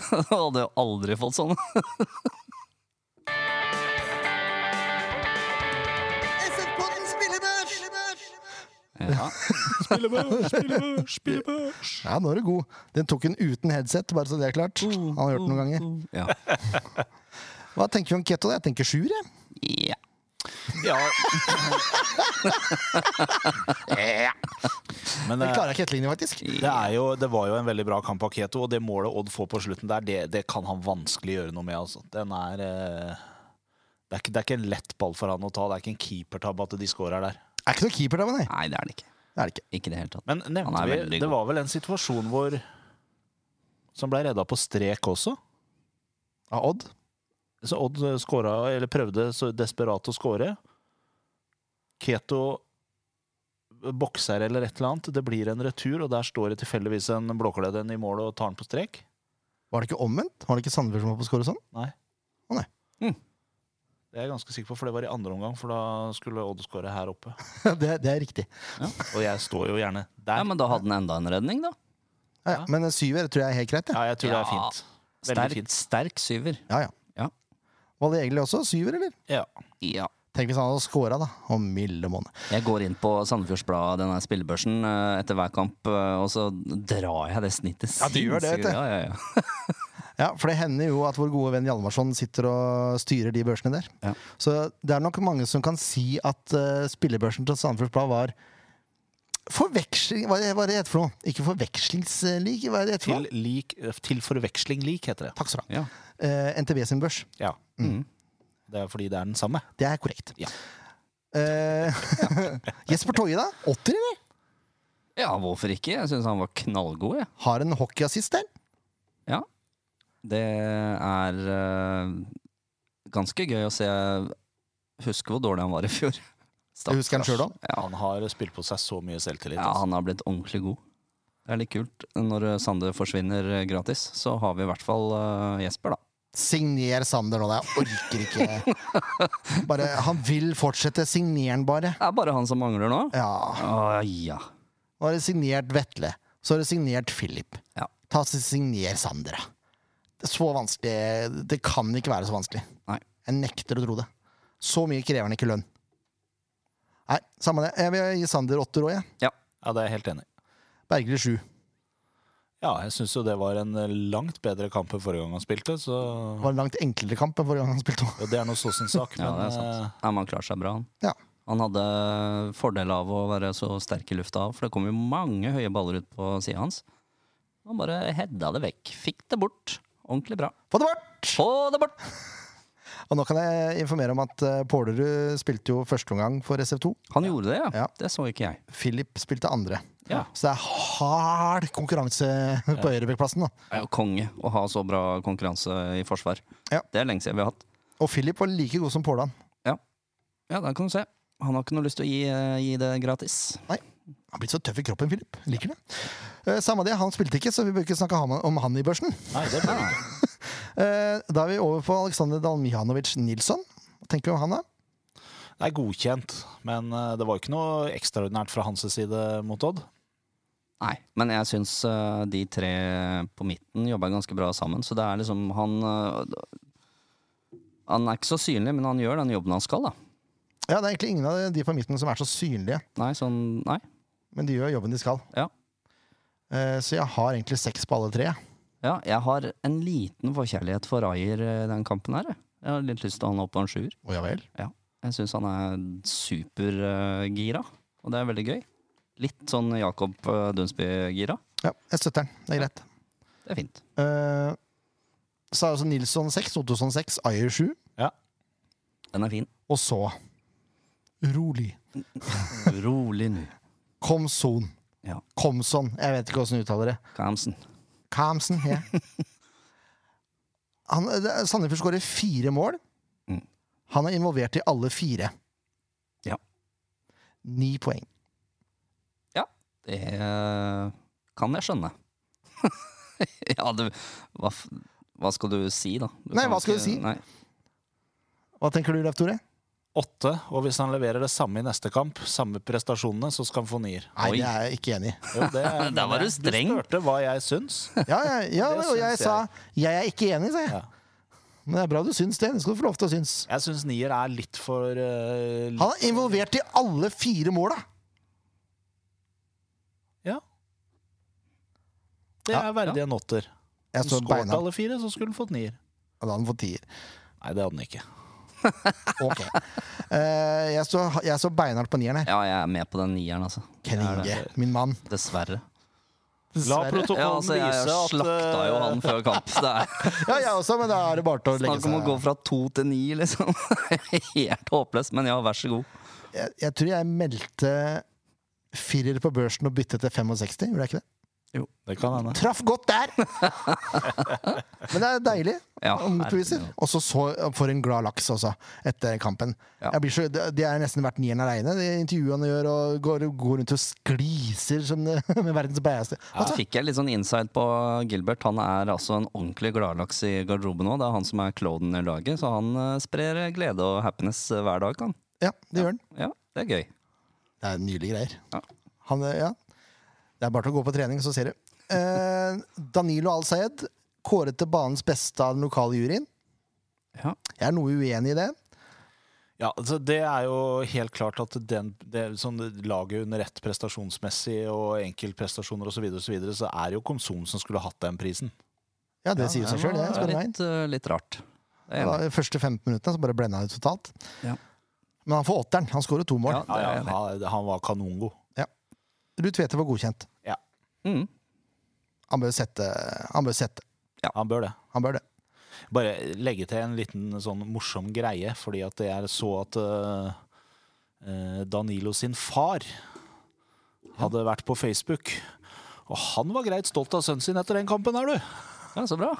C: Jeg hadde jo aldri fått sånn. sånne. Ja.
B: Spillebørs, spillebørs, spillebørs.
A: Ja, nå er du god. Den tok hun uten headset, bare så det er klart. Han har hørt den noen ganger.
C: Ja.
A: Hva tenker vi om keto? da? Jeg tenker sjuer, jeg.
C: ja.
B: Ja. Men
A: Den
B: eh,
A: klarer jeg ikke etterligne, faktisk.
B: det, er jo, det var jo en veldig bra kamp av Keto, og det målet Odd får på slutten der, det, det kan han vanskelig gjøre noe med. Altså. Den er, eh, det, er ikke, det er ikke en lett ball for han å ta. Det er ikke en keepertabbe at de scorer der.
A: Er ikke noe keeper, da, men nei.
C: Nei, det er det ikke.
A: Det er det ikke.
C: Ikke i det hele tatt.
B: Men nevnte
C: Han er veldig
B: vi, det
C: god.
B: var vel en situasjon hvor Som ble redda på strek også.
A: Av Odd?
B: Så Odd eh, skåra, eller prøvde så desperat å skåre. Keto eh, bokser eller et eller annet. Det blir en retur, og der står det tilfeldigvis en blåkledd en i målet og tar den på strek.
A: Var det ikke omvendt? Var det ikke Sandefjord som var på skåret sånn?
B: Det er jeg ganske sikker på, for det var i andre omgang, for da skulle Odd skåre her oppe.
A: sånn? det, det er riktig.
B: Og jeg står jo gjerne
C: Ja,
B: der.
C: men da hadde han enda en redning, da.
A: Ja, ja. Men en syver tror jeg er helt greit. Ja,
B: Ja, jeg tror det er
C: Ja.
B: fint. Veldig
C: Sterk,
B: fint.
C: sterk syver.
A: ja. ja.
C: Ja.
A: Var det egentlig også syver, eller?
B: Ja.
C: Ja.
A: Tenk hvis han hadde scora, da. Å, milde måne.
C: Jeg går inn på Sandefjords Blad, denne spillebørsen, eh, etter hver kamp, eh, og så drar jeg det snittet.
A: Ja, du gjør det, vet du.
C: sinnssykt. Ja, ja, ja.
A: Ja, for det hender jo at vår gode venn Hjalmarsson sitter og styrer de børsene der.
C: Ja.
A: Så det er nok mange som kan si at eh, spillebørsen til Sandefjords Blad var forveksling... Hva er det- hva er det det heter for noe? Ikke forvekslingslik, hva er det det heter for
B: Til,
A: noe?
B: lik, eh, til forveksling lik, heter det.
A: Takk skal du ha.
C: Ja.
A: Eh, NTB sin børs.
B: Ja. Mm. Det er fordi det er den samme.
A: Det er korrekt.
B: Ja.
A: Eh, Jesper Toje, da? 80, eller?
C: ja, hvorfor ikke? Jeg syns han var knallgod, jeg.
A: Har en hockeyassist der.
C: Ja. Det er eh, ganske gøy å se Husker hvor dårlig han var i fjor.
A: Det husker han sjøl òg.
C: Ja.
B: Han har spilt på seg så mye selvtillit.
C: Ja,
B: altså.
C: han har blitt ordentlig god. Det er litt kult. Når eh, Sande forsvinner eh, gratis, så har vi i hvert fall eh, Jesper, da.
A: Signer Sander nå, da. jeg orker ikke. Bare, han vil fortsette. Signer han bare.
C: Det er bare han som mangler nå.
A: Ja.
C: Å, ja.
A: Nå har det signert Vetle. Så har det signert Philip.
C: Ja.
A: Ta og Signer Sander, da. Det er så vanskelig Det kan ikke være så vanskelig.
C: Nei.
A: Jeg nekter å tro det. Så mye krever han ikke lønn. Nei, samme det. Jeg vil gi Sander åtter òg, jeg.
B: Ja, det er jeg helt enig i.
A: Bergerud sju.
B: Ja, jeg syns jo det var en eh, langt bedre kamp enn forrige gang han spilte, så
A: Det var en langt enklere kamp enn forrige gang han spilte.
B: ja, det er nå så sin sak.
C: Ja,
B: men, eh,
C: det er
A: eh,
C: sant. Nei, men han klarer seg bra, han.
A: Ja.
C: Han hadde fordel av å være så sterk i lufta, for det kom jo mange høye baller ut på sida hans. Han bare hedda det vekk. Fikk det bort. Ordentlig bra.
A: Få det bort!
C: Få det bort!
A: Og nå kan jeg informere om at eh, Pålerud spilte jo første omgang for SF2.
C: Han gjorde det, ja.
A: Ja.
C: Det så ikke jeg.
A: Philip spilte andre.
C: Ja.
A: Så det er hard konkurranse på Ørebekkplassen. da.
C: Det er jo konge å ha så bra konkurranse i forsvar.
A: Ja.
C: Det er lenge siden vi har hatt.
A: Og Philip var like god som Pålan.
C: Ja, der kan du se. Han har ikke noe lyst til å gi, eh, gi det gratis.
A: Nei, Han er blitt så tøff i kroppen, Philip. Liker det. Eh, Samme det, han spilte ikke, så vi bør ikke snakke ham- om han i børsen.
B: Nei, det blir det.
A: Eh, Da er vi over på Aleksandr Dalmjanovic Nilsson. Hva tenker du om han, da?
B: Det er godkjent, men eh, det var ikke noe ekstraordinært fra hans side mot Odd.
C: Nei, men jeg syns eh, de tre på midten jobber ganske bra sammen. Så det er liksom han eh, Han er ikke så synlig, men han gjør den jobben han skal, da.
A: Ja, Det er egentlig ingen av de på midten som er så synlige,
C: Nei, sånn Nei.
A: men de gjør jobben de skal.
C: Ja.
A: Eh, Så jeg har egentlig seks på alle tre. jeg.
C: Ja, jeg har en liten forkjærlighet for Ayer eh, i den kampen her. jeg. Jeg har litt lyst til å ha han opp på en sjuer.
A: Å ja vel.
C: Jeg syns han er supergira, og det er veldig gøy. Litt sånn Jakob eh, Dunsby-gira.
A: Ja, jeg støtter den. Det er greit.
C: Det er fint.
A: Eh, Så er altså Nilsson 6, Ottosson 6, Ayer 7,
C: Den er fin.
A: og så Rolig.
C: Rolig nå,
A: Komson.
C: Ja.
A: Komson. Jeg vet ikke hvordan du uttaler det.
C: Kamsen.
A: Kamsen, ja. Han, det- Sandefjord skårer fire mål.
C: Mm.
A: Han er involvert i alle fire.
C: Ja.
A: Ni poeng.
C: Det eh, kan jeg skjønne. ja, du hva, f- hva skal du si, da?
A: Nei,
C: kan
A: hva skal
C: ikke-
A: du si?
C: Nei.
A: Hva tenker du, Leif Tore?
B: Åtte, og hvis han leverer det samme i neste kamp, samme prestasjonene, så skal han få nier.
A: Nei,
C: Oi.
A: det er jeg ikke enig i.
B: Jo, det er- eh,
C: Der var du streng.
B: Du spurte hva jeg syns.
A: Ja, ja, ja,
B: Det
A: og jeg
B: syns jeg.
A: sa 'jeg er ikke enig', sa jeg.
B: Ja.
A: Men det er bra du syns det. Det skal du få lov til å synes.
B: Jeg syns nier er litt for eh, litt-
A: Han er involvert i alle fire måla!
B: Ja. Det
A: Ja,
B: er verdig en åtter.
A: Jeg
B: Hvis
A: står
B: han skåret
A: beina
B: alle fire, så skulle han fått nier.
A: Da hadde han fått tier.
B: Nei, det hadde han ikke.
A: Ok. Eh, jeg står, jeg står beinhardt på nieren her.
C: Ja, jeg er med på den nieren, altså.
A: Ken
C: Jeg er det.
A: Inge, min mann.
C: Dessverre.
B: La
A: Dessverre.
B: protokollen
C: Ja, altså, jeg
B: vise at
C: slakta
B: eh,
C: jo han før kamp. Det er
A: Ja, jeg også, men da er det bare til å legge
C: Snakk om å gå
A: seg.
C: fra to til ni, liksom. Helt håpløst, men ja, vær så god.
A: Jeg, jeg tror jeg meldte firer på børsen og byttet til 65, gjorde jeg ikke det?
B: Det kan hende.
A: Traff godt der! Men det er deilig
C: Ja,
A: å motbevise.
C: herregud.
A: Og så så- for en glad laks også, etter kampen.
C: Ja.
A: Jeg blir så, det det er nesten verdt nieren aleine, de intervjuene gjør, og går, går rundt og skliser som det, med verdens beste.
C: Så fikk jeg litt sånn insight på Gilbert. Han er altså en ordentlig gladlaks i garderoben òg. Det er han som er kloden i laget, så han eh, sprer glede og happiness eh, hver dag, han.
A: Ja, det gjør han.
C: Ja, det er gøy.
A: Det er nydelige greier.
C: Ja.
A: Han, eh, ja. Det er bare til å gå på trening, så ser du. Eh, Danilo Al-Sayed kåret til banens beste av den lokale juryen.
C: Ja.
A: Jeg er noe uenig i det.
B: Ja, altså det er jo helt klart at den, det, sånn, laget under ett prestasjonsmessig og enkeltprestasjoner osv., så, videre og så, videre, så er det jo Komsom som skulle hatt den prisen.
A: Ja, det sier seg sjøl, det.
C: var
A: Spør du meg.
C: litt, eh, litt rart. Det er
A: Det var
C: enig.
A: De første 15 minuttene så bare blenda han ut totalt.
C: Ja.
A: Men han får åtteren. Han skårer to mål.
C: Ja, det
B: Ja,
C: er
B: ja,
C: jeg enig.
B: han, han var kanongod.
A: Ruud Tvedte var godkjent.
B: Ja,
C: i. Mm.
A: Han bør sette. Han bør sette.
B: han bør det.
A: Han bør det.
B: Bare legge til en liten sånn morsom greie, fordi at jeg så at eh, eh, Danilo sin far hadde vært på Facebook. Og han var greit stolt av sønnen sin etter den kampen her, du!
C: Ja, så bra.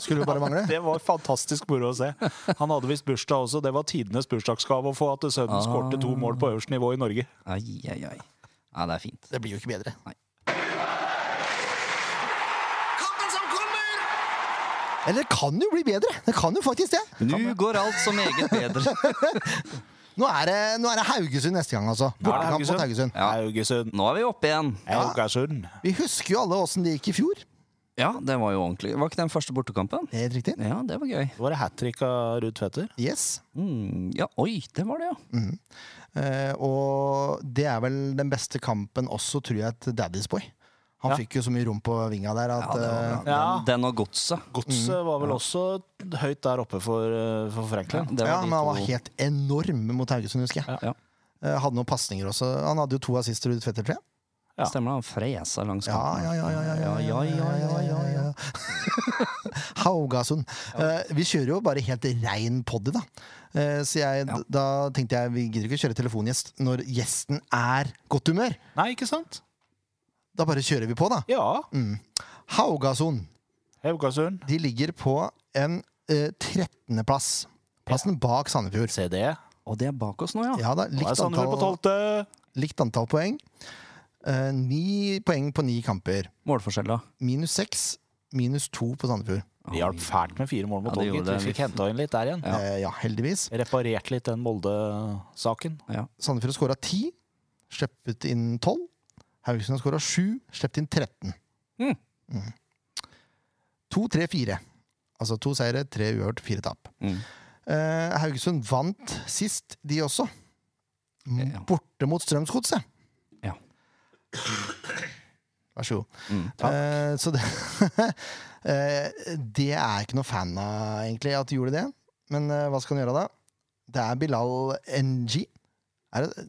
A: Skulle jo bare mangle.
B: Det var fantastisk moro å se. Han hadde visst bursdag også. Det var tidenes bursdagsgave å få at sønnen
C: Ah.
B: skårte to mål på øverste nivå i Norge.
C: Ai, ai, ai. Ja, det er fint.
A: Det blir jo ikke bedre.
C: Nei.
A: Eller det kan jo bli bedre! Det kan jo faktisk det.
C: Nå går alt så meget bedre.
A: Nå er det, nå er det Haugesund neste gang, altså. Bortekamp mot Haugesund.
C: Ja.
B: Haugesund.
C: Nå er vi oppe igjen.
B: Haugesund.
A: Vi husker jo alle åssen det gikk i fjor.
C: Ja, det var jo ordentlig. Var ikke den første bortekampen?
A: Det er helt riktig.
C: Ja, det var gøy.
B: Det var hat trick av Ruud Tvedter.
A: Yes.
C: Mm, ja, oi, det var det, ja.
A: Eh, og det er vel den beste kampen også, tror jeg, til Daddy's Boy. Han
B: Ja.
A: fikk jo så mye rom på vinga der at
C: Ja, det var
A: eh,
C: bra.
B: Ja.
C: Den, den og godset.
B: Godset
A: Mm.
B: var vel også høyt der oppe for, eh, for Franklin.
C: Det var
A: ja,
C: de
A: men han
C: to-
A: var helt enorm mot Haugesund, husker jeg.
C: ja.
A: Eh, hadde noen pasninger også. Han hadde jo to assister ut fetter tre.
B: Ja.
C: Stemmer det, han fresa langs
A: Ja, ja, ja, ja, ja, ja,
C: ja, ja, ja, ja, ja.
A: Haugasund. Eh, vi kjører jo bare helt rein poddy, da. Eh, så jeg,
C: Ja.
A: da tenkte jeg vi gidder ikke kjøre telefongjest når gjesten er godt humør.
B: Nei, ikke sant?
A: Da bare kjører vi på, da.
B: Ja.
A: Mm. Haugasund.
B: Haugasund.
A: De ligger på en eh, 13. plass. Plassen bak Sandefjord.
B: Se det.
C: Og det er bak oss nå, ja.
A: Ja da,
B: Nå er
A: likt
B: Sandefjord på
A: antall,
B: tolvte.
A: likt antall poeng. Eh, Ni poeng på ni kamper.
C: Målforskjell, da?
A: Minus seks, minus to på Sandefjord.
B: Vi hjalp fælt med fire mål mot
C: Ja, det
B: Tolgit.
C: gjorde det.
B: Vi fikk henta inn litt der igjen.
C: Ja.
A: Eh, ja heldigvis.
B: Reparert litt den Molde-saken.
A: Sandefjord har skåra ti, sluppet inn tolv. Haugesund har skåra sju, sluppet inn 13.
C: Mm.
A: Mm. To, tre, fire. Altså to seire, tre uavgjort, fire tap.
C: Mm.
A: Eh, Haugesund vant sist, de også. M-
C: Ja.
A: Borte mot Strømsgodset.
C: Ja.
A: Vær så god.
C: Mm.
A: Eh, så det eh, Det er jeg ikke noe fan av, egentlig, at de gjorde det. Men eh, hva skal han gjøre da? Det er Bilal NG. Er det,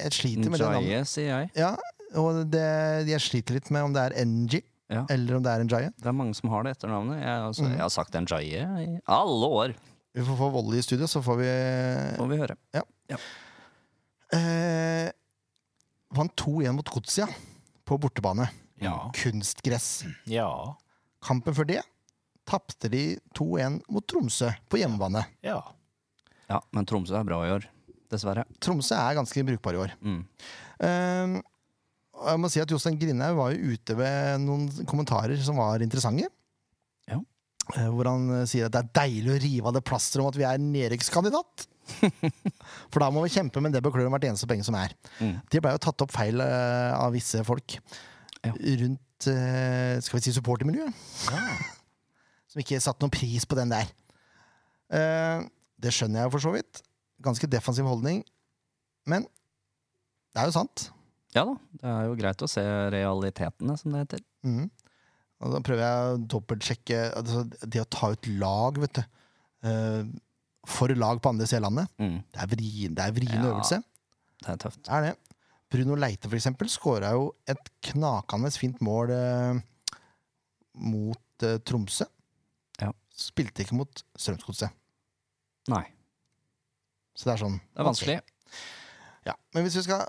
A: jeg sliter med det navnet.
C: Jaye, sier jeg.
A: Ja, og det, jeg sliter litt med om det er NG
C: Ja.
A: eller om det er Njaye.
C: Det er mange som har det etternavnet. Jeg, altså,
A: Mm.
C: jeg har sagt en Jaye i alle år,
A: Vi får få volley i studio, så får vi
C: får vi høre.
A: eh, Vant 2-1 mot Godsia på bortebane.
B: Ja.
A: Kunstgress.
B: Ja.
A: Kampen før det tapte de 2-1 mot Tromsø på hjemmebane.
B: ja.
C: Ja, men Tromsø er bra i år. Dessverre.
A: Tromsø er ganske brukbar i år.
C: Mm.
A: Eh, og jeg må si at Jostein Grindhaug var jo ute ved noen kommentarer som var interessante.
C: Ja.
A: Eh, Hvor han eh, sier at det er deilig å rive av det plasteret om at vi er nedrykkskandidat. For da må vi kjempe med det beklør om hvert eneste penge som er.
C: Mm.
A: Det blei jo tatt opp feil eh, av visse folk
C: Ja.
A: rundt eh, skal vi si supportermiljøet. Som ikke satte noen pris på den der. Eh, Det skjønner jeg jo for så vidt. Ganske defensiv holdning. Men det er jo sant.
C: Ja da, det er jo greit å se realitetene, som det heter.
A: Mhm. Og da prøver jeg å dobbeltsjekke altså, Det å ta ut lag, vet du. eh, for lag på andre siden av landet.
C: Mm.
A: Det er vrien, det er vrien
C: Ja.
A: øvelse.
C: Det er tøft.
A: Det er det. Bruno Leite, for eksempel, skåra jo et knakende fint mål eh, mot eh, Tromsø.
C: Ja.
A: Spilte ikke mot Strømsgodset.
C: Nei,
A: Så det er sånn.
C: det er vanskelig.
A: Ja. Men hvis vi skal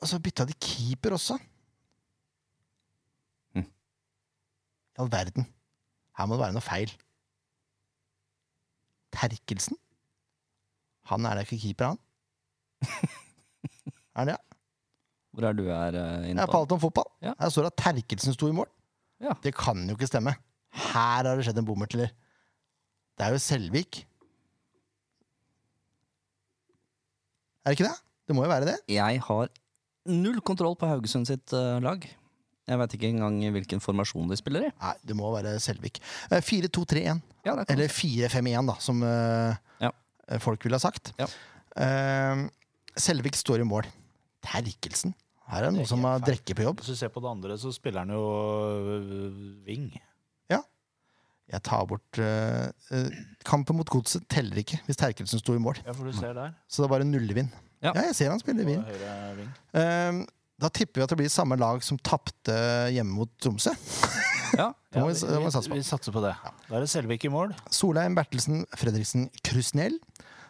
A: altså, bytte av til keeper også
C: Mhm.
A: I all verden. Her må det være noe feil. Terkelsen? Han er da ikke keeper, han? er det, ja?
C: Hvor er du her eh,
A: Jeg
C: inne
A: er på
C: på?
A: alt om fotball.
C: Ja.
A: Her står det at Terkelsen sto i mål.
C: Ja.
A: Det kan jo ikke stemme. Her har det skjedd en bommert, eller? Det er jo Selvik. Er det ikke det? Det må jo være det.
C: Jeg har null kontroll på Haugesund sitt eh, lag. Jeg veit ikke engang hvilken formasjon de spiller i.
A: Nei, det må være Selvik. Eh, 4-2-3-1.
C: Ja, det kan.
A: Eller 4-5-1, da, som eh,
C: Ja.
A: eh, folk ville ha sagt.
C: Ja.
A: Eh, Selvik står i mål. Terkelsen. Her er det
B: Det er
A: noen som
B: helt
A: har
B: feil.
A: drekke på jobb.
B: Hvis du ser på det andre, så spiller han jo øh, wing.
A: Jeg tar bort eh, eh, Kampen mot Godset teller ikke hvis Terkelsen sto i mål.
B: Ja, for du ser der.
A: Så det er bare nullevinn.
C: Ja.
A: jeg ser han spiller
B: På
A: vinn.
B: høyre wing.
A: Eh, da tipper vi at det blir samme lag som tapte hjemme mot Tromsø.
C: Ja.
A: Det må vi-
B: vi,
A: det må vi satse på.
B: vi, vi satser på det. Da er det Selvik i mål.
A: Solheim, Bertelsen, Fredriksen, Krusnell.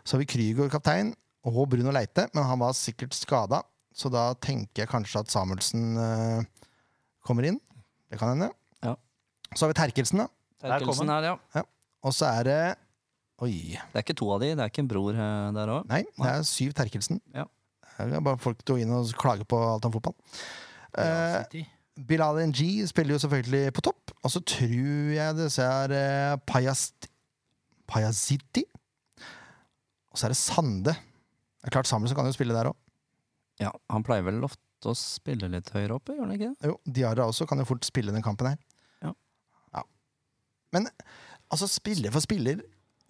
A: Så har vi Krüger kaptein og Bruno Leite, men han var sikkert skada. Så da tenker jeg kanskje at Samuelsen eh, kommer inn. Det kan hende.
C: Ja.
A: Så har vi Terkelsen, da.
B: Der kom
C: Terkelsen her, ja.
A: Og så er det Oi.
C: Det er ikke to av de, det er ikke en bror eh, der òg.
A: Nei, det er syv Terkelsen.
C: Ja.
A: Det er bare folk til å inn og klage på alt om fotball. Eh, Bilal NG spiller jo selvfølgelig på topp. Og så tror jeg det så er eh, Pajast Pajasiti. Og så er det Sande. Det er klart Samuelsen kan jo spille der òg.
C: Ja, han pleier vel ofte å spille litt høyere oppe, gjør han ikke det?
A: Jo, Diarra også kan jo fort spille den kampen her.
C: Ja.
A: Ja. Men altså, spiller for spiller,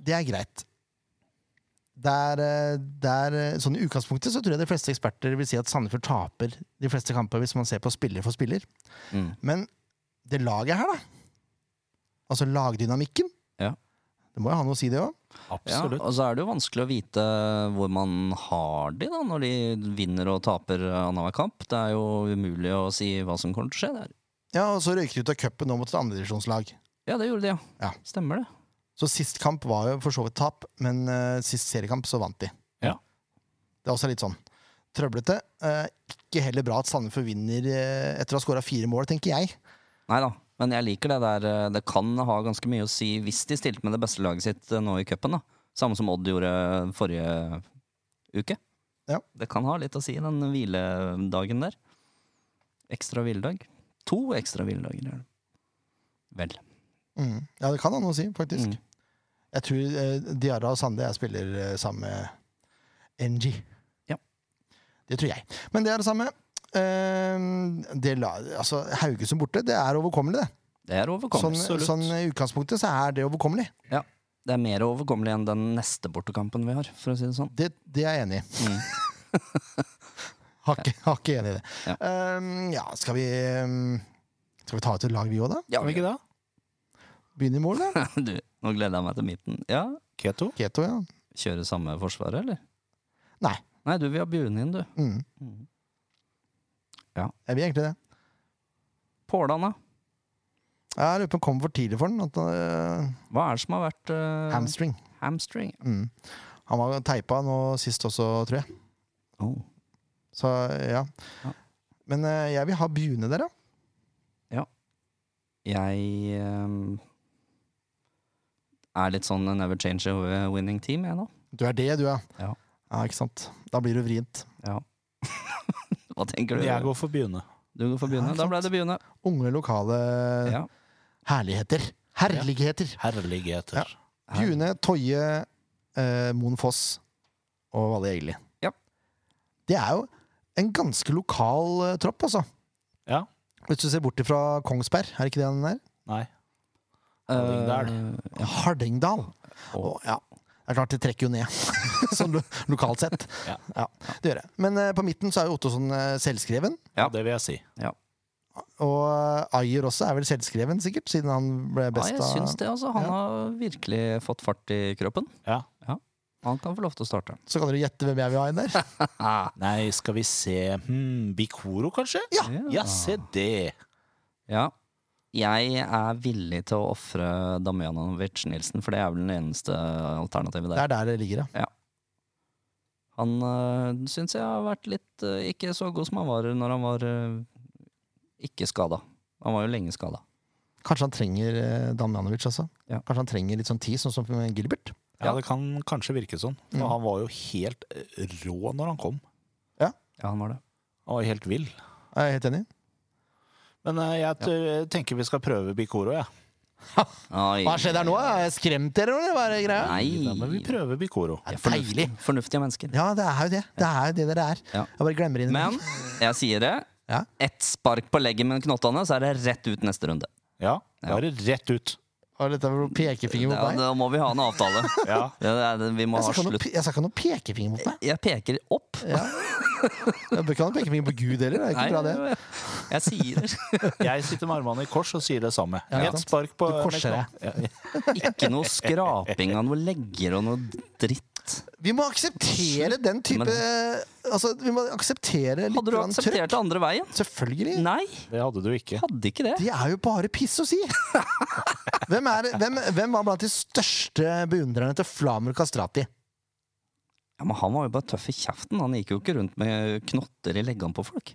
A: det er greit. Det er, eh, det er, eh, sånn I utgangspunktet så tror jeg de fleste eksperter vil si at Sandefjord taper de fleste kamper hvis man ser på spiller for spiller.
C: Mm.
A: Men det laget her, da. Altså lagdynamikken.
C: Ja.
A: Det må jo ha noe å si, det òg.
C: Ja,
B: Absolutt.
C: og så er det jo vanskelig å vite hvor man har de da, når de vinner og taper annenhver kamp. Det er jo umulig å si hva som kommer til å skje der.
A: Ja, og så røyker de ut av cupen nå mot et andredivisjonslag.
C: Ja, det gjorde de, ja.
A: Ja.
C: Stemmer det.
A: Så sist kamp var jo for så vidt tap, men eh, sist seriekamp så vant de.
B: Ja.
A: Det er også litt sånn trøblete. Eh, ikke heller bra at Sandefjord vinner eh, etter å ha skåra fire mål, tenker jeg.
C: Nei da, men jeg liker det der. eh, Det kan ha ganske mye å si hvis de stilte med det beste laget sitt eh, nå i cupen, da. Samme som Odd gjorde eh, forrige uke.
A: Ja.
C: Det kan ha litt å si, den hviledagen der. ekstra hviledag. To ekstra hviledager er det. Vel.
A: Mm. Ja, det kan han noe si, faktisk.
C: Mm.
A: Jeg tror eh, Diarra og Sande jeg spiller eh, sammen med NG.
C: Ja.
A: Det tror jeg. Men det er det samme. Eh, det la, altså, Haugesund borte, det er overkommelig, det.
C: Det er
A: Sånn,
C: overkommelig.
A: sånn i utgangspunktet så er det overkommelig.
C: Ja. Det er mer overkommelig enn den neste bortekampen vi har, for å si det sånn.
A: Det, det er jeg enig i.
C: Mm.
A: Har ikke, har ikke enig i det.
C: Ja.
A: Eh, ja, skal vi eh, Skal vi ta ut et lag, vi òg, da?
C: Ja,
B: Kan vi ikke det?
A: Begynne i mål, da?
C: du, nå gleder jeg meg til midten. Ja,
B: Keto?
A: Keto, ja.
C: Kjøre samme forsvaret, eller?
A: Nei.
C: Nei, du vil ha Bjunin, du.
A: Mm.
C: Mm.
A: Jeg vil egentlig det.
C: Pålan, da?
A: Jeg lurer på om han kom for tidlig for den. At, eh,
C: Hva er det som har vært eh,
A: hamstring.
C: hamstring?
A: Mm. Han var teipa nå sist også, tror jeg.
C: Oh.
A: Så ja.
C: Ja.
A: Men eh, jeg vil ha Bune der, ja.
C: Jeg eh, er litt sånn never change a winning team, jeg nå.
A: Du er det, du, ja.
C: Ja.
A: ikke sant. Da blir det vrient.
C: Hva tenker du?
B: Jeg går for Bjune.
C: Du går for Bjune.
A: Ja,
C: Da ble det Bjune.
A: Unge lokale
C: Ja.
A: herligheter. Herligheter!
B: Herligheter.
A: Ja. Bune, Toje, eh, Moen Foss og Valle Egli.
C: Ja.
A: Det er jo en ganske lokal eh, tropp, altså.
B: Ja.
A: Hvis du ser bort fra Kongsberg, er det ikke det han er?
B: Nei.
C: Eh,
A: Ja. Hardengdal.
C: Å.
A: Å, ja. Det er klart, det trekker jo ned, sånn lo lokalt sett.
B: Ja.
A: det gjør det. Men eh, på midten så er jo Ottosson eh, selvskreven.
C: Ja.
B: Det vil jeg si.
A: Og eh, Ayer også er vel selvskreven, sikkert, siden han ble
C: ja,
A: best
C: jeg syns
A: av
C: det. altså. Han
A: Ja.
C: har virkelig fått fart i kroppen.
B: Ja.
C: Han kan få lov til å starte.
A: Så kan dere gjette hvem jeg vil ha inn der. Ah.
B: Nei, skal vi se hmm, Bikoro, kanskje?
A: Ja!
B: Ja, se det!
C: Ja. Jeg er villig til å ofre Damjanovic Nilsen, for det er vel den eneste alternativet
A: Det
C: der.
A: er der det ligger, ja.
C: Han øh, syns jeg har vært litt øh, ikke så god som han var når han var øh, ikke skada. Han var jo lenge skada.
A: Kanskje han trenger eh, Damjanovic, altså.
C: Ja.
A: Kanskje han trenger litt sånn tid, sånn som Gilbert.
B: Ja, det kan kanskje virke sånn. For
A: Mm.
B: han var jo helt eh, rå når han kom.
C: Ja, han var det.
B: Han var helt vill.
A: Er jeg helt enig?
B: Men eh, jeg t tenker vi skal prøve Bikoro, jeg. Ja.
C: Oi.
A: Hva skjedde her nå? Har jeg skremt dere, eller hva er det greia?
B: Ja, men vi
C: Nei.
B: prøver Bikoro.
A: Det er
C: Fornuftig,
A: deilig!
C: fornuftige mennesker.
A: Ja, det er jo det. Det er jo det dere er.
C: Ja.
A: Jeg bare glemmer inn
C: Men jeg sier det.
A: Ja.
C: Ett spark på leggen med knottene, så er det rett ut neste runde.
B: Ja, da er det rett ut.
A: Og dette var pekefinger mot
C: Da,
A: meg.
C: da må vi ha en avtale.
B: Ja.
C: Det er, vi må
A: Jeg skal ikke
C: ha
A: ha noe
C: slutt.
A: pe- jeg skal ikke ha noe pekefinger mot meg.
C: Jeg peker opp.
A: Ja. Jeg bør ikke ha noen pekefinger på Gud heller. Det er ikke bra, det.
C: jeg, jeg sier
B: Jeg sitter med armene i kors og sier det samme.
A: Ja,
B: Ett
A: sant.
B: spark på
A: Du korser deg.
B: Ja, ja.
C: ikke noe skraping av noen legger og noe dritt.
A: Vi må akseptere den type Altså, vi må akseptere litt
C: Hadde du
A: grann trøkk.
C: akseptert det andre veien?
A: Selvfølgelig.
C: Nei,
B: Det hadde du ikke.
C: hadde ikke det.
A: Det er jo bare piss å si! Hvem, er, hvem, hvem var blant de største beundrerne til Flamer Kastrati?
C: Ja, men han var jo bare tøff i kjeften. Han gikk jo ikke rundt med knotter i leggene på folk.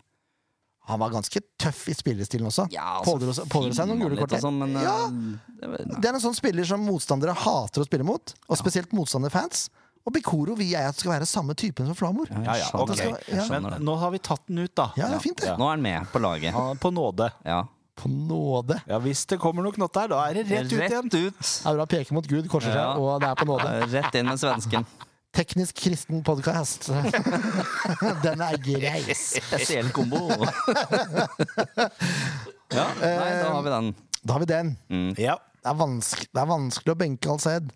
A: Han var ganske tøff i spillestilen også.
C: Ja, altså,
A: Pådro seg- pådro seg noen
C: finner han
A: gule
C: litt
A: kort
C: og
A: her.
C: sånn, men,
A: Ja.
C: eh, det var- nei.
A: Det er en sånn spiller som motstandere hater å spille mot, og spesielt motstanderfans. Og Bikoro vil jeg at skal være samme typen som Flamor.
C: Ja, jeg
B: Ja, ja,
C: skjønner
B: ok.
C: det. Jeg
A: Ja.
B: Men
C: skjønner det.
B: nå har vi tatt den ut, da.
A: Ja, det er fint, det.
B: Ja.
C: Nå er han med på laget.
B: Han er på nåde.
C: Ja.
A: På nåde.
B: Ja, Hvis det kommer noe knott her, da er det rett ut igjen.
C: Rett ut.
A: Det er bra å peke mot Gud, korser seg,
C: Ja.
A: og det er på nåde.
C: Rett inn med svensken.
A: Teknisk kristen podkast. Den er grei.
C: Spesiell kombo. ja, nei, da har vi den.
A: Da har vi den.
B: Ja,
A: Det er, vanske, det er vanskelig å benke Alsaid.